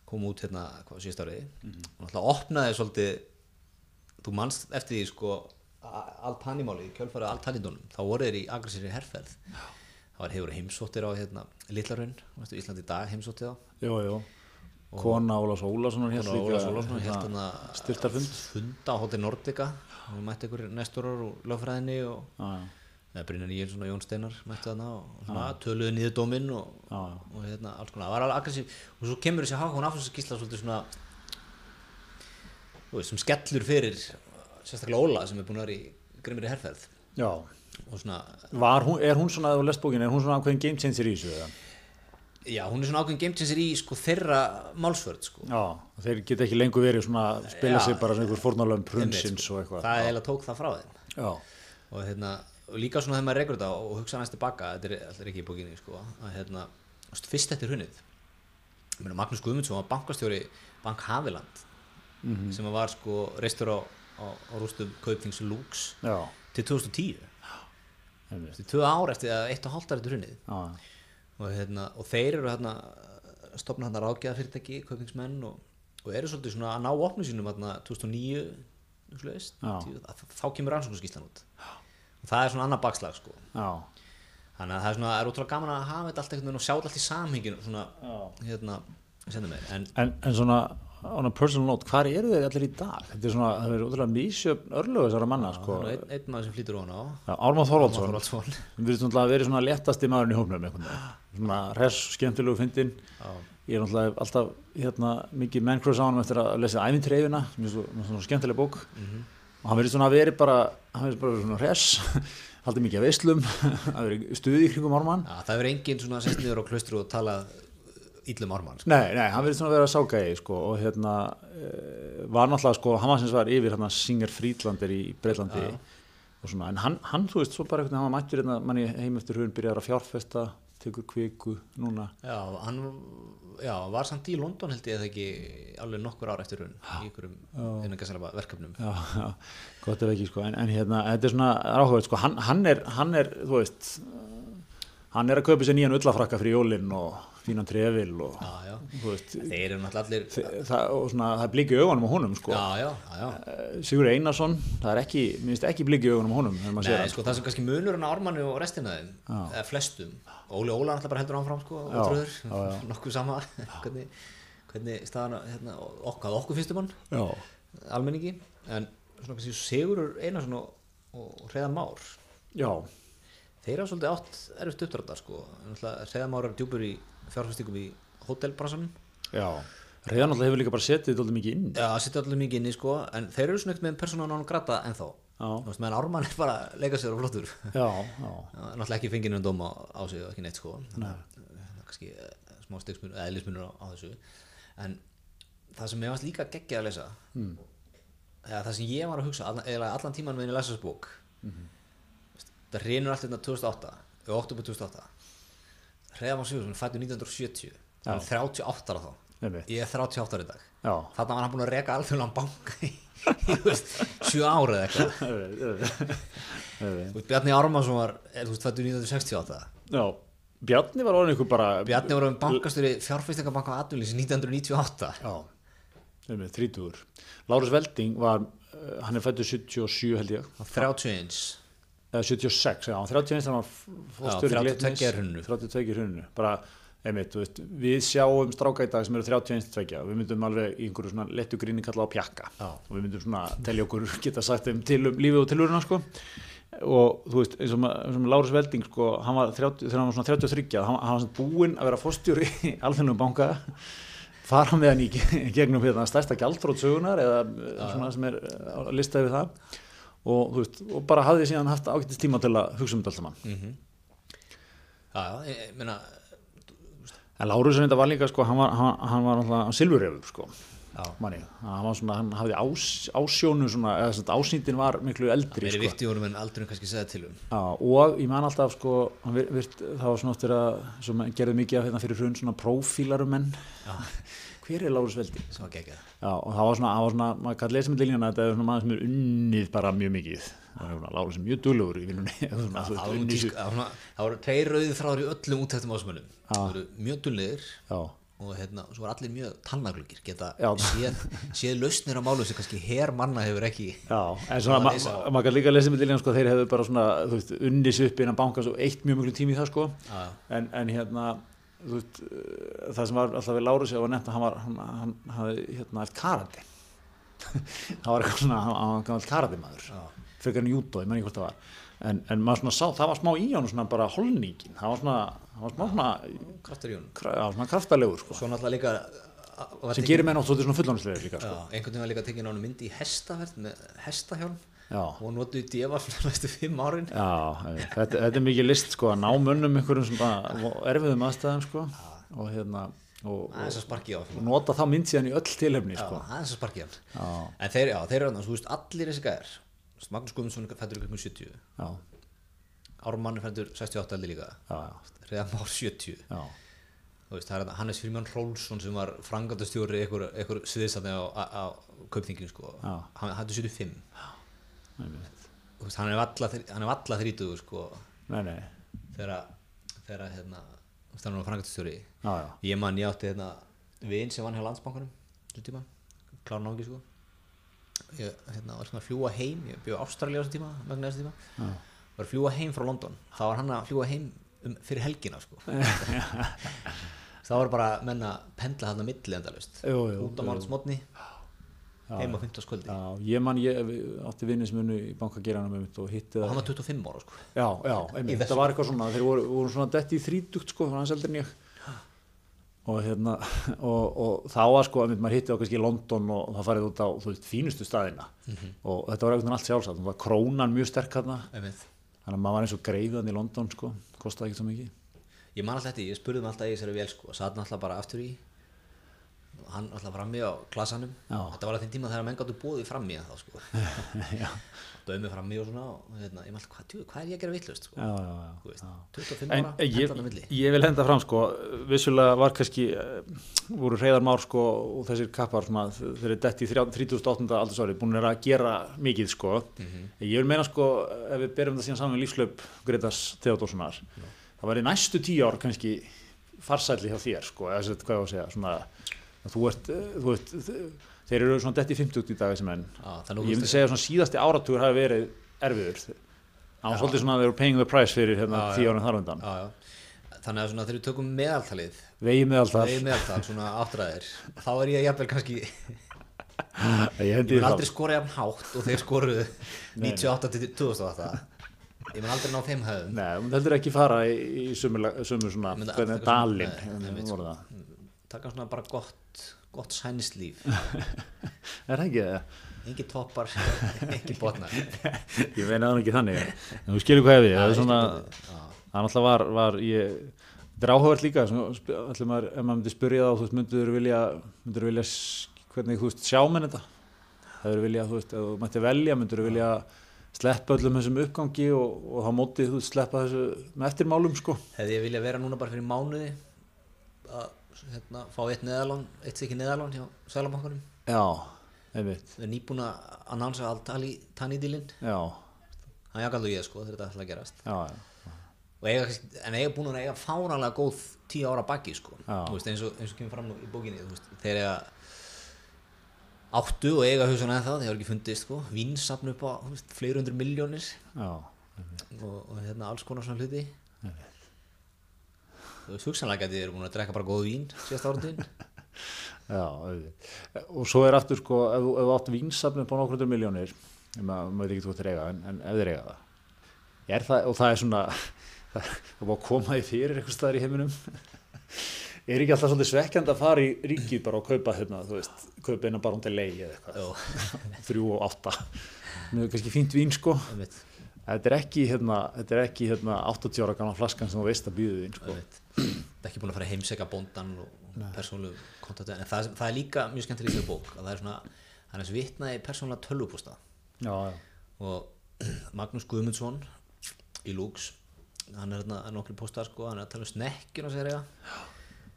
S1: kom út hérna hvað síðast áriði og náttúrulega opnaði svolítið þú manst eftir því sko Al-Tani-máli, kjölfarið Al-Tani-dónum þá voru þeir í aggressíri herferð þá það var hefur heimsóttir á hérna, Littlarun, Íslandi í dag heimsótti þá
S2: Jú, jú. Kona Ólafs Ólafssonar hélt
S1: Kona Ólafs Ólafssonar
S2: hérna,
S1: hélt hérna-
S2: styrtarfund.
S1: funda á Hotel Nordica við mætti ykkur næsturar úr lögfræðinni og
S2: Já, já.
S1: eða Brynjar Níelsson og Jón Steinar mætti þarna og svona töluðu niður dóminn og,
S2: Já.
S1: og hérna alls konar, það var alveg aggressív og svo kemur þessi Hákon Afsons gísla svolítið svona þú veist, sem skellur fyrir sérstaklega Óla sem er búin að vera í grimmir í herrferð
S2: já.
S1: og svona,
S2: Var hún, er hún svona, ef þú lest bókinu, er hún svona ákveðin game changer í þessu? eða?
S1: já hún er svona ákveðin geimtinsir í sko þeirra málsvörð sko
S2: Já, þeir geta ekki lengur verið svona, að spila
S1: Já.
S2: sig bara sem einhver fórnarlöfn
S1: Einmitt,
S2: prunsins
S1: sko.
S2: og eitthvað.
S1: það er eiginlega tók það frá þeim
S2: Já,
S1: og hérna og líka svona þegar maður rekur þetta og hugsa næst tilbaka þetta er alltaf ekki í bókinni sko að hérna þú veist, fyrst þetta er hunnið Meni, Magnús Guðmundsson var bankastjóri Bank Haviland
S2: Mhm.
S1: sem að var sko reistur á, á, á rústum Kaupþings Lux
S2: já,
S1: til 2010
S2: einmitt.
S1: til tvö ár eftir að eitt og hálft ár eftir hunnið
S2: Já,
S1: og, hérna, og þeir eru hérna stopna hérna ráðgjaða fyrirtæki Kaupþingsmenn og, og eru svolítið svona að ná opnum sínum hérna 2009 svoleiðis,
S2: Já.
S1: 10, að, þá kemur rannsóknarskíslan út og það er svona annar bakslag sko
S2: já,
S1: Þannig að það er svona, það er ótrúlega gaman að hafa þetta allt einhvern veginn og sjá þetta allt í samhenginu svona, hérna, senda mér en
S2: En, en svona, on a personal note, hvar eru þeir allir í dag? Þetta er svona, það er ótrúlega mísjöfn örlögu þessara manna, sko.
S1: það er nú einn, einn maður sem flýtur ofan á
S2: Já, Ármann Þorvaldsson,
S1: Þorvaldsson
S2: hann virðist náttúrulega að vera svona léttasti maðurinn í hópnum einhvern veginn. Svona res, skemmtilegu fyndin. Ég er náttúrulega alltaf hérna, mikið manncross á hann eftir að lesa æfintreifina, sem er svo- svona skemmtileg bók. Og hann virðist svona að veri bara, hann virðist bara að vera svona res, haldið mikið að veislum, að vera stuði í kringum Ármann.
S1: Já, það er enginn svona sest niður á klaustru og tala íllum orman sko.
S2: Nei, nei, hann verið svona að vera ságæði sko, og hérna eh, var náttúrulega sko, hann var sem svar yfir hérna Singer Friedlander í Breitlandi og svona, en hann, hann, þú veist, svo bara einhvern veginn hann var mættur hérna, manni heim eftir hrun byrjar að fjárfesta, tekur kviku núna,
S1: Já, hann já, var samt í London held ég eða ekki alveg nokkur ár eftir hún í ykkurum einhverjum verkefnum
S2: já, já gott ef ekki sko, en, en hérna, þetta er svona ráhugað, sko, hann, hann er, hann er, þú veist eh, hann er að kaupa sér nýjan ullafrakka fyrir jólinn og fínan trefil og,
S1: Já, já,
S2: þú veist,
S1: þeir eru náttúrulega allir Já,
S2: þe- það, og svona, það blikið augunum á honum, sko
S1: já, já, já
S2: Eh, Sigur Einarsson, það er ekki, minnst ekki blikið augunum honum þegar maður sér
S1: Nei,
S2: hann.
S1: sko, það sem kannski munur hann á Ormannu og restina þeim, eða flestum Óli Óla náttúrulega bara heldur áfram sko,
S2: Já,
S1: ótrúður,
S2: já, já.
S1: nokkuð sama hvernig, hvernig staðan á- hérna, okkar, okkur fyrstum hann,
S2: Já,
S1: almenningi en svona kannski Sigurur Einarsson og, og Hreðan Már
S2: já,
S1: þeir eru svolítið átt erfitt uppdráttar sko, Hreðan Már er djúpur í fjárfæstingum í hótelbransanum
S2: já. Reyðan alltaf hefur líka bara setið þetta mikið inn.
S1: Já, það sitja allir mikið inn í sko, en þeir eru svona ekkert með persónan án grata ennþá,
S2: Já.
S1: þú veist, meðan Ármann er bara að leika sér og flottur
S2: Já, já,
S1: Já, náttúrulega ekki fengið nefnum dóma á sig og ekki neitt sko þannig að það er kannski eh, smá stegsmunur, eða eðlismunur á, á þessu en það sem ég varst líka geggjað að lesa mm. eða það sem ég var að hugsa allan, eiginlega allan tíman meðin ég lesa þessu bók það reynur allt hérna 2008 í oktober 2008 Hreðar Már Sigurðsson fættu 1970 hann er 38 ára þá
S2: Einmitt.
S1: ég er 38 ára í dag
S2: já.
S1: þarna var hann búin að reka alþjóðlega banka í, í þú veist, 7 ára eða eitthvað
S2: já.
S1: Þú veist, Bjarni Ármansson var, eh, þú veist, fættu 1968
S2: Bjarni var orðin ykkur bara...
S1: Bjarni voru um bankastöri fjárfæstingabanka á Atvinnlýs 1998
S2: Já, nefnir, þrítugur. Lárus Velding var, eh, hann er fættur 77 held ég,
S1: Hann 31
S2: eða 76, já, hann 31 hann var fórstjóri
S1: 32
S2: Glitnis.
S1: hruninu.
S2: 32 hrunnu, bara, einmitt, þú veist, við sjáum stráka í dag sem eru 31 tveggja og við myndum alveg í einhverju svona lettu gríni kalla á pjakka
S1: Já.
S2: og við myndum svona telja okkur geta sagt þeim til um lífið og tilurina sko og þú veist, eins og, ma- eins og með Lárus Velding sko, hann var 30, þegar hann var svona 33 hann, hann var svona búinn að vera fórstjóri í alþennum banka fara með hann í ge- gegnum hérna stærsta gjaldrót sögunar eða ja. svona sem er eh, á lista yfir það og þú veist, og bara hafði síðan haft ágættist tíma til að hugsa um þetta allt saman
S1: Já, já, ég ég meina
S2: en Lárus þetta var líka sko, hann var, hann, hann var alltaf silfurrefur sko
S1: Já.
S2: manni, hann var svona, hann hafði ás, ásjónu svona, eða svona ásýndin var miklu eldri
S1: Mér er
S2: sko.
S1: vitt í honum en aldrei kannski segja til um
S2: Já, og ég man alltaf sko, hann vir- virt, það var svona oftir að sem gerði mikið af hérna fyrir hrun svona prófílarum menn hver er Lárus Veldi?
S1: sem var geggjað
S2: Já, og það var svona, það var svona maður kalli lesa með línjana að þetta er svona maður sem er unnið bara mjög mikið Það er svona, Lárus er mjög duglegur í vinnunni eitthvað svona,
S1: Það
S2: sko. þú veist,
S1: var nú
S2: unnið sér-
S1: tísk- það var svona- það voru tveir rauðið þráður í öllum útæktum ásmönnum Það voru mjög dullir
S2: Já,
S1: og hérna, svo var allir mjög talnaglugir geta
S2: Já.
S1: séð, séð lausnir á málu sem kannski her manna hefur ekki
S2: Já, en svona ma- ma- maður kann líka að lesa með liðan sko, þeir hefðu bara svona, þú veist, unni sig upp innan bankans og eitt mjög mjög tími í það sko
S1: Já, já.
S2: en, en hérna, þú veist, eh, það sem var alltaf við Lárus og nefnt að hann var, hann, hann hafði hérna eftir karandi það var eitthvað svona, hann hann var gammal karandi maður
S1: Já.
S2: frekar en júdó, ég menn ekki hvort það var en, en maður svona sá, það var smá í hann svona bara holningin, það var svona, það var smá svona,
S1: kraftur í honum
S2: kra- það var svona kraftalegur sko,
S1: svo náttúrulega líka a- var
S2: sem
S1: tekin-
S2: gerir menn oft svolítið svona fullónislega líka
S1: já,
S2: sko.
S1: einhvern veginn var líka tekin á hann myndi í hestaverð með hestahjálm
S2: Já.
S1: og notuði djefafn næstu fimm árin
S2: Já, eh, þetta, þetta er mikið list sko að ná mönnum einhverjum sem bara vo- erfiðum aðstæðum sko og hérna og, og,
S1: aðeins að sparki á
S2: og nota þá mynd síðan í öll tilhefni
S1: Já,
S2: sko.
S1: aðeins að sparki hann
S2: Já.
S1: en þeir, já, þeir eru hann, þú veist, allir þessi gæðir Magnús Guðmundsson fættur ykkur 70
S2: Já,
S1: Ármann fættur 68 aldrei líka
S2: já,
S1: Reðan Már 70
S2: já,
S1: Þú veist, það er hann Hannes Fríman Rólfsson sem var frangandastjóri ykkur, ykkur sviðsatni á, á, á kaupþinginu sko
S2: Já.
S1: hann hættu 75
S2: já einmitt.
S1: Þú veist, hann er valla þrí- hann er valla 30 sko
S2: Nei, nei,
S1: þegar þegar hérna þú veist, hann var frangandastjóri
S2: já, já,
S1: ég man ég átti hérna vin sem vann hjá landsbankanum þessu tíma klára náðum sko ég hérna, var svona að fljúa heim ég bjóð Ástralja á þessu tíma vegna þessu tíma
S2: Já.
S1: var að fljúa heim frá London þá var hann að fljúa heim um, fyrir helgina sko þá var bara menn að pendla þarna milli endalust
S2: Jú, jú,
S1: út á mánusmotni heim á 15 sköldi
S2: já, ég man ég við- átti vinnið sem unnu í bankageranum einmitt og hitti
S1: og
S2: það
S1: hann var 25 ára sko
S2: Já, já, einmitt, þetta var eitthvað svona þeir voru, voru svona detti í þrítugt sko þannig eldri en ég og hérna, og, og þá var sko einmitt, maður hitti á kannski í London og það farið út á þú veist, fínustu staðina og þetta var eitthvað allt sjálfsagt, það var krónan mjög sterk hérna,
S1: Einmitt.
S2: þannig að maður var eins og greiðan í London sko, kostaði ekki svo mikið
S1: ég man alltaf eftir, ég spurði hann alltaf í þessari vél sko og satt hann alltaf bara aftur í og hann alltaf frammi á klasanum
S2: Já.
S1: þetta var að þeim tíma þegar menn gáttu búið frammi þá sko dömi frammi og svona og hérna, ég man alltaf, hvað, djú, hvað er ég að gera vittlust sko?
S2: Já, já, já
S1: Þú veist, 25
S2: En
S1: ára,
S2: ég,
S1: hendlan á milli
S2: ég vil henda fram sko, vissulega var kannski, eh, voru reyðar már sko og þessir kappar svona, þeir eru dett í 30 38. aldursári, búin er að gera mikið sko. Ég vil meina sko, ef við berum það síðan saman við lífslaup Gretars Theodórssonar, það væri næstu tíu ár kannski farsælli hjá þér sko, eða sett, hvað ég á að segja, svona, að þú ert, eh, þú ert, þeir eru svona dett í 50 í dag þessi menn.
S1: Já, það er nú
S2: Ég myndi
S1: veist-
S2: segja að svona síðasti áratugur hafi verið erfiður Það var svolítið svona að þeir eru paying the price fyrir hérna
S1: Já, já.
S2: tíu árið þar undan
S1: Já, já. þannig að svona, þegar við tökum meðaltalið
S2: Vegið með allt það
S1: vegið meðaltal, svona áttræðir þá er ég jafnvel kannski ég
S2: Ég hendi
S1: mun
S2: það
S1: aldrei skora jafn hátt og þeir skoruðu 98 til 2008 ég mun aldrei ná þeim höfum
S2: Nei, þú heldur ekki fara í, í sömu, lag- sömu svona
S1: Ég myndi
S2: hvernig
S1: aldrei-
S2: dalinn
S1: Nei, sko.
S2: hvernig
S1: einmitt,
S2: voru það.
S1: taka svona bara gott gott sænislíf
S2: Er það ekki það?
S1: engin toppar, engin botnar
S2: Ég meina það nú ekki þannig En þú skilur hvað ég við Það er svona
S1: Já.
S2: Það náttúrulega var, var ég dráhugvert líka allir maður, ef maður myndi spyrja það þú veist, myndur vilja, myndur vilja s- hvernig þú veist, sjá menn þetta það eru vilja, þú veist, ef þú mætti velja myndur vilja sleppa öllum þessum uppgangi og, og þá móti þú veist, sleppa þessu með eftirmálum, sko
S1: hefði ég viljað vera núna bara fyrir mánuði að hérna, fá eitt neðalán eitt ekki neðalán hjá Sælabankanum
S2: Já, einmitt,
S1: við erum nýbúin að annánsa alltali tannídilinn
S2: já,
S1: hann jakka alveg ég sko þegar þetta ætla að gerast
S2: já, já
S1: Og eiga, kannski- en eiga búin að eiga fánalega góð tíu ára baki sko
S2: Já.
S1: Þú veist, eins, og, eins og kemur fram nú í bókinni þú veist, þeir eiga áttu og eiga hugsun eða það, þeir hafa ekki fundist sko vinsafn upp á þú veist, fleiri hundru miljónir
S2: Já,
S1: og, og hérna alls konar svona hluti þú veist hugsanlega að þið eru búin að drekka bara góð vín síðast áratuginn
S2: já, auðvitað. Og svo er aftur, sko, ef þú ef þú átt vinsafn upp á nokkur hundur miljónir, ég maður maður veit ekki hvað þeir eiga, en, en ef þeir eiga það, er það, og það er svona, það er búið að koma því fyrir einhvers staðar í heiminum. er ekki alltaf svolítið svekkjandi að fara í ríkið bara og kaupa hérna, þú veist, kaupa eina bara hundi leið eða eitthvað,
S1: Jó,
S2: þrjú og átta. Mér er kannski fínt vín, sko.
S1: einmitt,
S2: Þetta er ekki, hérna, þetta er ekki, hérna, 80 ára gana flaskan sem þú veist að býðu þín, sko.
S1: einmitt. Það er ekki búin að fara að heimsækja bóndan og persónlu kontaktu en það, það er líka mjög skemmtileg í þessari bók að það er svona, hann er svo vitna í persónlega tölvupústa
S2: Já, já.
S1: og Magnús Guðmundsson í Lux hann er hérna nokkri póstar sko, hann er að tala um snekkjuna sér eiga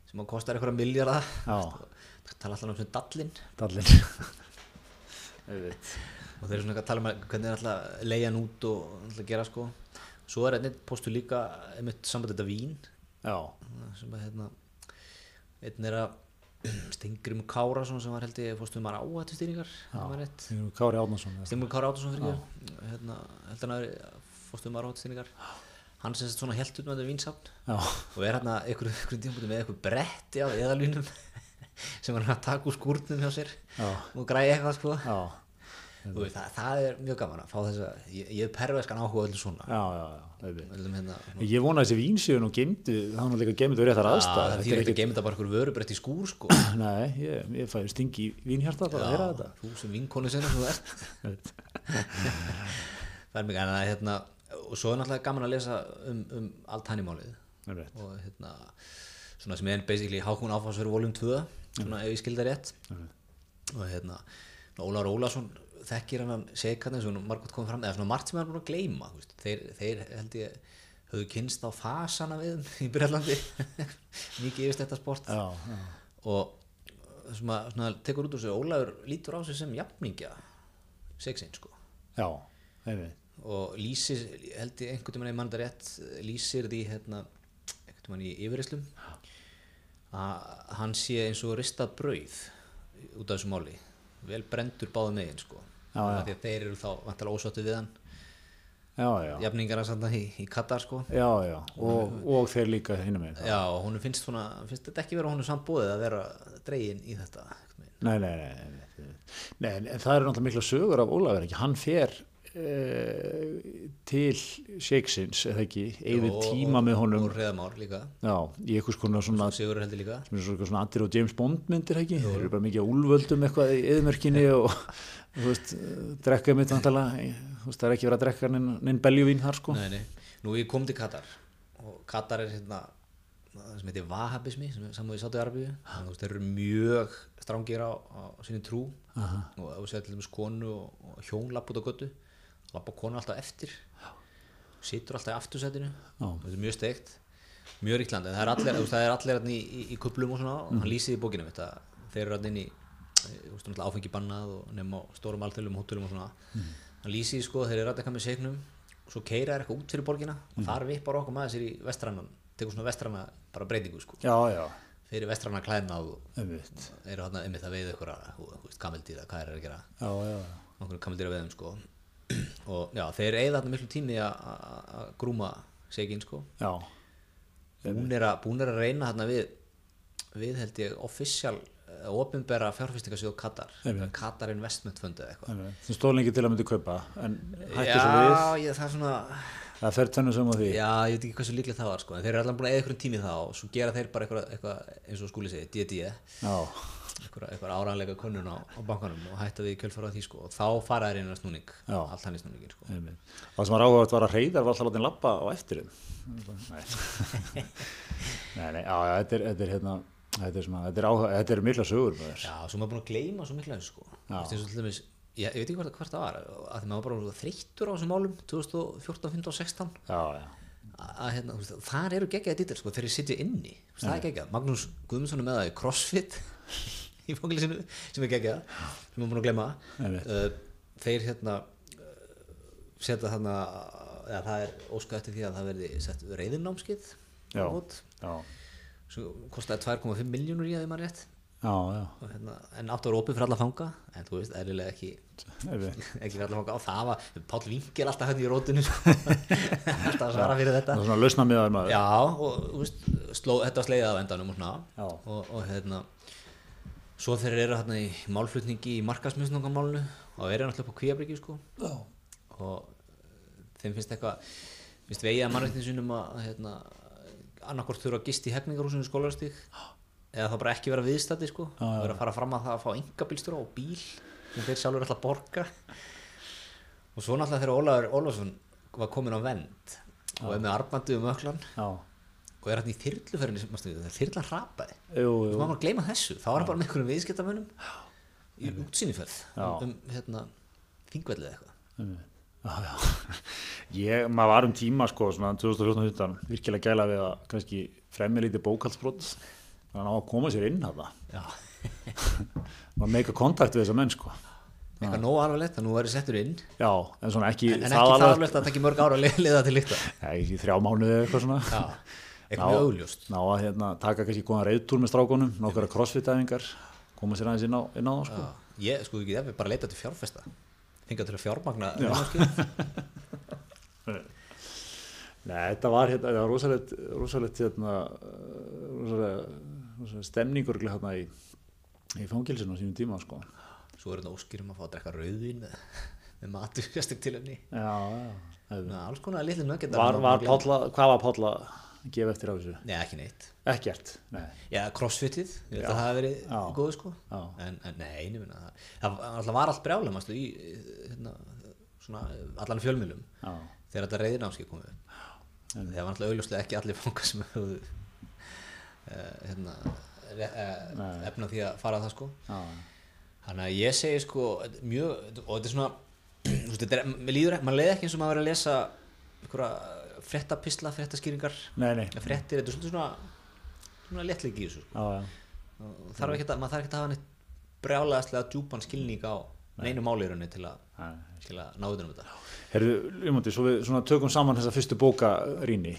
S1: sem hann kostar einhverja miljarda
S2: Já.
S1: það tala alltaf um sem dallinn
S2: Dallin. Auðvitað.
S1: og þeir eru svona eitthvað að tala um að- hvernig er alltaf að leigja hann út og alltaf gera sko svo er einnig postur líka einmitt samband þetta vín
S2: Já.
S1: sem að hérna einn er að Stengrim Kára sem var held ég fórstuðum maður áhættustýringar
S2: Þeir eru Kári Árnason eða-
S1: Stengrim Kára Áttursson fyrir ekki hérna, held hann að fórstuðum maður áhættustýringar hann sem sett svona held út með þetta vinsafn
S2: Já,
S1: og er hérna ykkur, ykkur tímpúti með eitthvað brett já, eða línum sem hann er að taka úr skúrnum hjá sér
S2: já,
S1: og græja eitthvað sko
S2: já,
S1: Þú veist, það, það er mjög gaman að fá þess að ég, ég er perverskan áhuga á öllu svona
S2: já, já, já auðvitað.
S1: öllum hérna
S2: Ég vona að þessi vínsjöðu nú gemdu, það er nú líka gemdu verið þar aðstæð.
S1: Ah, það þýr ekki að geima þetta bara ykkur vörubrett í skúr sko
S2: Nei, ég, ég fæði stingi í vínhjarta bara að heyra þetta.
S1: þú sem vinkonu sinna sem þú ert það er mikið en að hérna og svo er náttúrulega gaman að lesa um, um allt hann í málið
S2: Einmitt.
S1: og hérna svona sem er basically hákun áfásverð volum 2 svona ef ég skilda rétt og hérna Ólar Ólason þekkir hennan sekarni eins og hún margótt kom fram eða svona margt sem hann er búin að gleyma þú veist. þeir, þeir held ég höfðu kynst á fasana við þeim í Brellandi mikið yfirst þetta sport
S2: Já, já,
S1: og sem að svona, tekur út úr sig Ólafur lítur á sig sem jafningja sexin sko
S2: já, einmitt.
S1: og lýsir, held ég einhvern veginn mann það rétt, lýsir því hérna, einhvern veginn í yfirreyslum að hann sé eins og ristað brauð út af þessu máli vel brendur báðu megin sko
S2: Já, já.
S1: Af því að þeir eru þá vantilega ósáttu við hann
S2: Já, já, já,
S1: jafningar að sanda í, í Katar sko
S2: já, já. Og, og þeir líka hinum einn.
S1: já og hún finnst svona finnst þetta ekki vera honum sambóðið að vera dregin í þetta einhvern veginn.
S2: Nei, nei, nei, nei, nei. nei en það eru náttúrulega mikla sögur af Ólafur ekki, hann fer eh, til Shakesins eða ekki, eigði
S1: Og-
S2: tíma
S1: og-
S2: með honum
S1: og Reðamár líka,
S2: já, í eitthvað skona svona
S1: Sigur heldur líka
S2: sem er svona, svona Addir og James Bond myndir ekki þeir eru bara mikið að úlvöldum eitthvað í eðmörkinni og þú veist drekka mitt náttúrulega þú veist það er ekki verið að drekka neinn nein beljuvín þar sko
S1: Nei, nei. Nú ég kom til Katar og Katar er hérna það sem heitir Vahabismi sem er samúið í Sátu Arbíu þannig að þeir eru mjög strangir á, á sinni trú og ef þú segir til dæmis konu og, og hjón lapp út á götu lappa konu alltaf eftir situr alltaf í aftursætinu þetta er mjög steikt mjög ríkland en það er allir, þú veist, það er allir hérna í, í, í kuplum og svona og hann lýsið í bókinu mitt að þeir eru hérna inn í þú veist, náttúrulega áfengi bannað og nefn á stórum alþjóðlum hótelum og svona hann lýsið sko þeir eru alltaf eitthvað með segnum og svo keira er eitthvað út fyrir borgina og þar vippar okkur maður sér í vestrannan tekur svona vestranna bara breytingu sko
S2: já, já,
S1: fyrir vestranna klæðnað og
S2: einmitt
S1: eru hann einmitt að veiða eitthvað kameldýra, hvað er að gera
S2: já, já, já,
S1: okkur kameldýra veðum sko og já, þeir eigða þarna miklu tími að- að að grúma segin sko
S2: já,
S1: hún er að, búin er að reyna þarna við við held ég official ofinbæra fjárfestingasjóð Katar
S2: Einmitt.
S1: Katar Investment Fund eða eitthvað
S2: einmitt sem stóð lengi til að myndi kaupa en hætti svo við,
S1: Já, ég, það er svona
S2: það fer tönnu sem á því
S1: Já, ég veit ekki hversu líklega það var sko en þeir eru allan búin að eða einhverjum tími í það og svo gera þeir bara eitthvað, eitthvað eins og skúli segi, DD
S2: já,
S1: eitthvað, eitthvað áræðanlega könnun á, á bankanum og hætta við kjölfara því sko og þá fara þeir inn að snúning
S2: Já.
S1: allt hann í snúningin sko
S2: einmitt og það sem var áhugavert var að reyðar var alltaf látið lappa á eftir þeim nei, nei, nei, já, já, þetta er, þetta er hérna þetta er, svona, þetta er, áhuga, þetta er mikla sögur maður.
S1: Já, svo maður búin að gleyma svo mikla þessu sko Þú veist, eins og til dæmis, ég, ég veit ekki hvert, hvert það var að því maður bara var svo þreyttur á þessum málum 2014, 15 og 16
S2: já, já,
S1: að að, hérna, þú veist, þar eru geggjaði dýttir sko, þeir sitja inni, þú veist, það er geggjað Magnús Guðmundsson er með það í CrossFit í fangilsinu sem er geggjað sem er búin að glemma
S2: Einmitt.
S1: uh, þeir hérna uh, setja þarna eða það er óskað eftir því að það verði sett reyðinnámskið
S2: Já.
S1: út,
S2: já,
S1: svo kostaði 2,5 miljónur í að þið maður rétt
S2: já, já.
S1: Og hérna, en átt var opið fyrir alla fanga en þú veist, eðlilega ekki
S2: einmitt.
S1: ekki fyrir alla fanga og það var, Páll Vinkel alltaf hérna í rótinu sko. alltaf að svara fyrir þetta
S2: Það er svona lausna miðaður maður.
S1: Já, og þú veist, sló, þetta sleiðið á endanum og
S2: Já.
S1: svona og, og hérna svo þeir eru hérna í málflutningi í markasmisnungamálnu og eru náttúrulega upp á kvíabryggi sko
S2: Já.
S1: og eh, þeim finnst eitthvað finnst vegið að mannréttinsunum að hérna, annarkort þurfa að gist í hefningarhúsinu skólarstík eða þá bara ekki vera viðstætti sko og vera að fara fram að það að fá engabílstjóra og bíl sem þeir sjálfur alltaf borga og svo náttúrulega þegar Ólafur Ólafsson var komin á vend og er með armandi um öklan
S2: Já.
S1: og er hérna í þyrluferðinni sem mástu, það er þyrlan hrapaði
S2: Jú,
S1: þú
S2: jú.
S1: maður bara að gleyma þessu, þá var hann bara með einhverjum viðskiptamönnum í útsýniferð
S2: Já.
S1: um, um hérna, þingvellið eða eitthvað
S2: einmitt. Já, já. Ég, maður var um tíma sko, svona 2014-15, virkilega gæla við að kannski fremja lítið bókaldsbrot, þannig að ná að koma sér inn að það.
S1: Já.
S2: Maður meika kontakt við þessa menn sko.
S1: eitthvað nóg alvarlegt að nú verið settur inn
S2: Já, en svona ekki
S1: en ekki það alvarlegt að það ekki mörg ára að leiða til líkta
S2: Nei, í þrjá mánuði eða eitthvað svona.
S1: Já. Eitthvað mjög augljóst.
S2: ná að hérna, taka kannski góðan reyðtúr með strákonum nokkara crossfit-æfingar koma sér aðeins inn á, inn á það, sko.
S1: Já, ég sko ekki það, við bara leita til fjárfesta hinga til að fjármagna námskeiðið.
S2: Nei, þetta var, hérna, þetta var rosalegt, rosalegt, hérna, rosalegt, rosalegt stemningur hérna í, í fangilsinu á sínum tíma, sko.
S1: svo er þetta óskýrum að fá að drekka rauðvín með, með matu fjastik til henni
S2: Já, já. hefði-
S1: alls konar litlu nöggjandar
S2: Var, var Pálla, hvað var Pálla að gefa eftir á þessu?
S1: Nei, ekki neitt
S2: Ekkert, nei.
S1: Já, crossfitið, ég held
S2: Já.
S1: að það hafi verið
S2: Já.
S1: góð sko
S2: Já.
S1: en, en nei, nefnir það það var- alltaf var allt brjálum manstu, í, hérna, svona, allan fjölmjölum
S2: Já,
S1: þegar þetta reyðinámski komið upp
S2: En-
S1: það var alltaf augljóslega ekki allir fangar sem höfðu uh, hérna, uh,
S2: Nei.
S1: efna því að fara það sko
S2: já,
S1: þannig að ég segi sko þetta er mjög, og þetta er svona þú veist, þetta er, mér líður, maður leiði ekki eins og maður verið að lesa einhverja frettapisla, frettaskýringar
S2: nei, nei,
S1: eða frettir, þetta er svolítið svona svona léttleiki í þessu sko.
S2: já, já,
S1: Og þarf ekki að, maður þarf ekki að hafa neitt brjálaðastlega djúpan skilning á neinu málirunni til að,
S2: já.
S1: til að ná utan um þetta
S2: Herðu, Ljómandi, svo við svona tökum saman þessa fyrstu bókarýni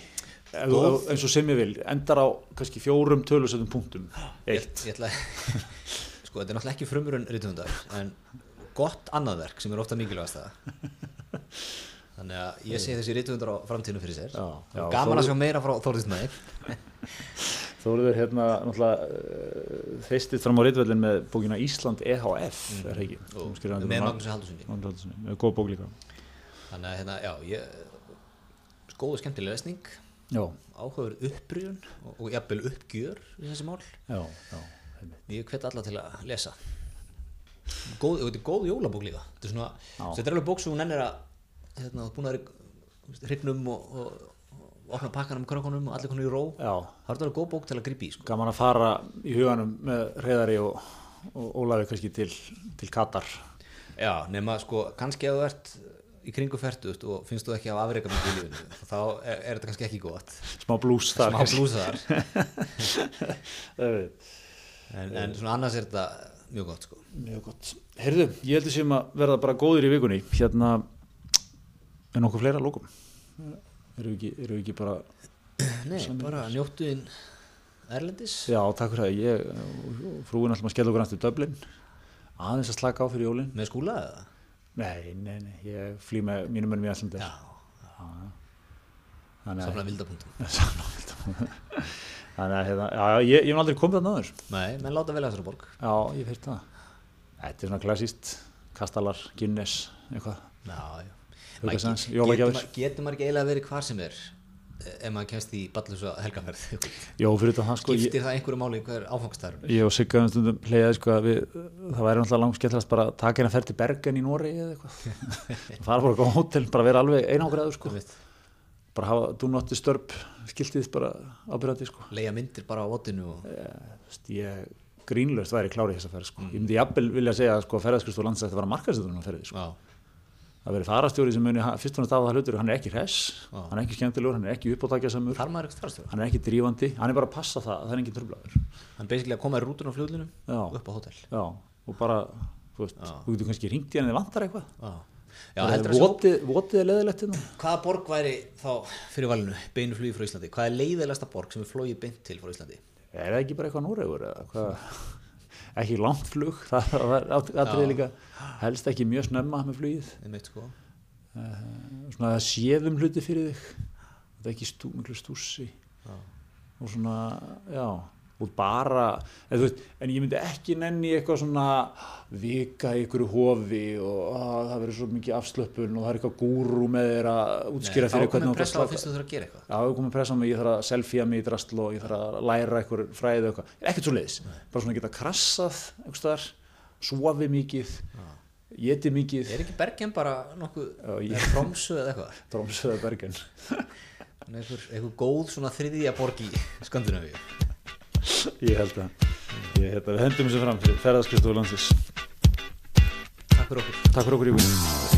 S1: Góð.
S2: eins og sem ég vil, endar á kannski fjórum tölusöðum punktum eitt,
S1: ég, ég ætla, sko þetta er náttúrulega ekki frumurinn rítundar en gott annað verk sem er ofta mikilvægast það þannig að ég segi þessi rítundar á framtíðinu fyrir sér
S2: Já, já,
S1: gaman
S2: Þórður-
S1: að sjá meira frá Þórðismæði
S2: Þóruður hérna náttúrulega þeistið fram á reytvellin með bókina Ísland EHF er það ekki,
S1: og
S2: Hún skrifaði
S1: með
S2: um
S1: Magnúsi Haldurssoni
S2: Magnús Halldórssyni, með góð bók líka
S1: þannig að hérna, já, ég góðu skemmtileg lesning
S2: já,
S1: áhugaður upprýðun og, og jafnvel uppgjör í þessi mál
S2: já, já einmitt.
S1: ég hvet alla til að lesa góð, og þetta er góð jólabók líka þetta er, svona,
S2: Já.
S1: þetta er alveg bók sem hún ennir að hérna, þú ert búin að vera í hrygnum og, og, og opna pakkanum krökkunum og allir konu í ró
S2: já,
S1: það er alveg góð bók til að gripa í sko.
S2: gaman að fara í huganum með reyðari og, og Ólafi kannski til, til Katar
S1: já, nema sko, kannski að þú ert í kringu færtut og finnst þú ekki af afreika með í lífinu þá er, er þetta kannski ekki gott
S2: smá blús þar
S1: sem hafa blúsaðar
S2: blús
S1: en, en svona annars er þetta mjög gott sko.
S2: Mjög gott. Herðu, ég heldur sem að verða bara góðir í vikunni. Hérna, er nokkuð fleira að lókum? Erum við ekki, erum við ekki bara...
S1: nei, bara njóttu inn Erlendis
S2: Já, takk fyrir það. Ég og frúin alltaf að skella okkur næstu döblin. Aðeins að slaka á fyrir jólin.
S1: með skúla eða?
S2: Nei, nei, nei. Ég flý með mínum önum í Æslandi.
S1: já,
S2: Þannig að...
S1: samla vildapunktum
S2: Samla. Þannig að, hérna, já, já, ég, ég hef aldrei komið þarna aður.
S1: nei, menn láta vel að þessara borg
S2: Já, ég fyrir það. Þetta er svona klassíst. Kastalar, Guinness, eitthvað.
S1: Já, já.
S2: Hauka
S1: Maður
S2: Sands,
S1: get-
S2: jólagjafir.
S1: Getur maður- getur maður ekki eiginlega verið hvar sem er eh, ef maður kemst í ballusa helgaferð?
S2: Jó, fyrir þetta það sko... ég-
S1: Giftir það einhverju máli hver áfangstæður?
S2: Ég og Sigga um stundum leiðið sko að við, það væri náttúrulega langt skemmtilegast bara að taka hérna ferð til Bergen í Nóri eða eitthvað. fara bara á eitthvað hótel, bara vera alveg einangræður sko. Bara hafa dúnótti störp skiltið bara ábyrjandi sko.
S1: Leia myndir bara á votinu og...
S2: Eh, þú veist, Ég grínlaust væri klárið þess að ferð sko. Ég myndi jafnvel vilja segja að sko ferðaskristu og landsætti var að marka sér þarna ferðið sko.
S1: Já,
S2: Það verið farastjóri sem muni ha- fyrst og næst af það hlutur, hann er ekki hress,
S1: Já.
S2: hann er ekki skemmtilegur, hann er ekki uppátækjasamur,
S1: þar maður ekki starfstöður.
S2: hann er ekki drífandi, hann er bara að passa það, að það er engin tröflaður.
S1: Hann basically að koma í rútun á fljóðlunum
S2: Já.
S1: og upp á hótel.
S2: Já, og bara, þú veist,
S1: Já.
S2: þú getur kannski ringt í hann eða vantar eitthvað.
S1: Já, já
S2: Það
S1: heldur
S2: er
S1: að svo...
S2: votið, votið er leðilegt hérna.
S1: Hvaða borg væri þá fyrir valinu beinu flugi frá Íslandi? Hvað er leiðilegasta borg sem er flogið beint til frá Íslandi?
S2: Er það ekki bara eitthvað Noregur eða hvað? Ekki langt flug, það það var aðrið líka helst ekki mjög snemma með flugið.
S1: Einmitt, sko.
S2: Eh, Svona að það séðum hluti fyrir þig, það er ekki stú, miklu stússi
S1: Já.
S2: og svona, já, og bara, eða, þú veist, en ég myndi ekki nenni eitthvað svona vika í einhverju hofi og að, það verður svo mikið afslöpun og það er eitthvað gúrú með þér að útskýra
S1: Nei,
S2: fyrir
S1: Þá
S2: hvernig
S1: komið
S2: þú átt að
S1: pressa á
S2: slaka-
S1: fyrst þú þurfa að gera eitthvað.
S2: Já, við komum að pressa á mig, ég þarf að selfie mig í drastl og ég þarf að læra einhver fræði og eitthvað. Ekkert svo leiðis, bara svona geta krassað einhvers staðar, sofi mikið, geti mikið,
S1: Er ekki Bergen bara nokkuð,
S2: Já, ég-
S1: er Tromsö eða eitthvað?
S2: drómsöða bergen.
S1: En einhver, einhver góð svona þriðja borg í Skandinavíu.
S2: Ég held að, ég held að við hendum þessu fram fyrir ferðarskristofu landsins.
S1: Takk fyrir okkur.
S2: Takk fyrir okkur í vinn.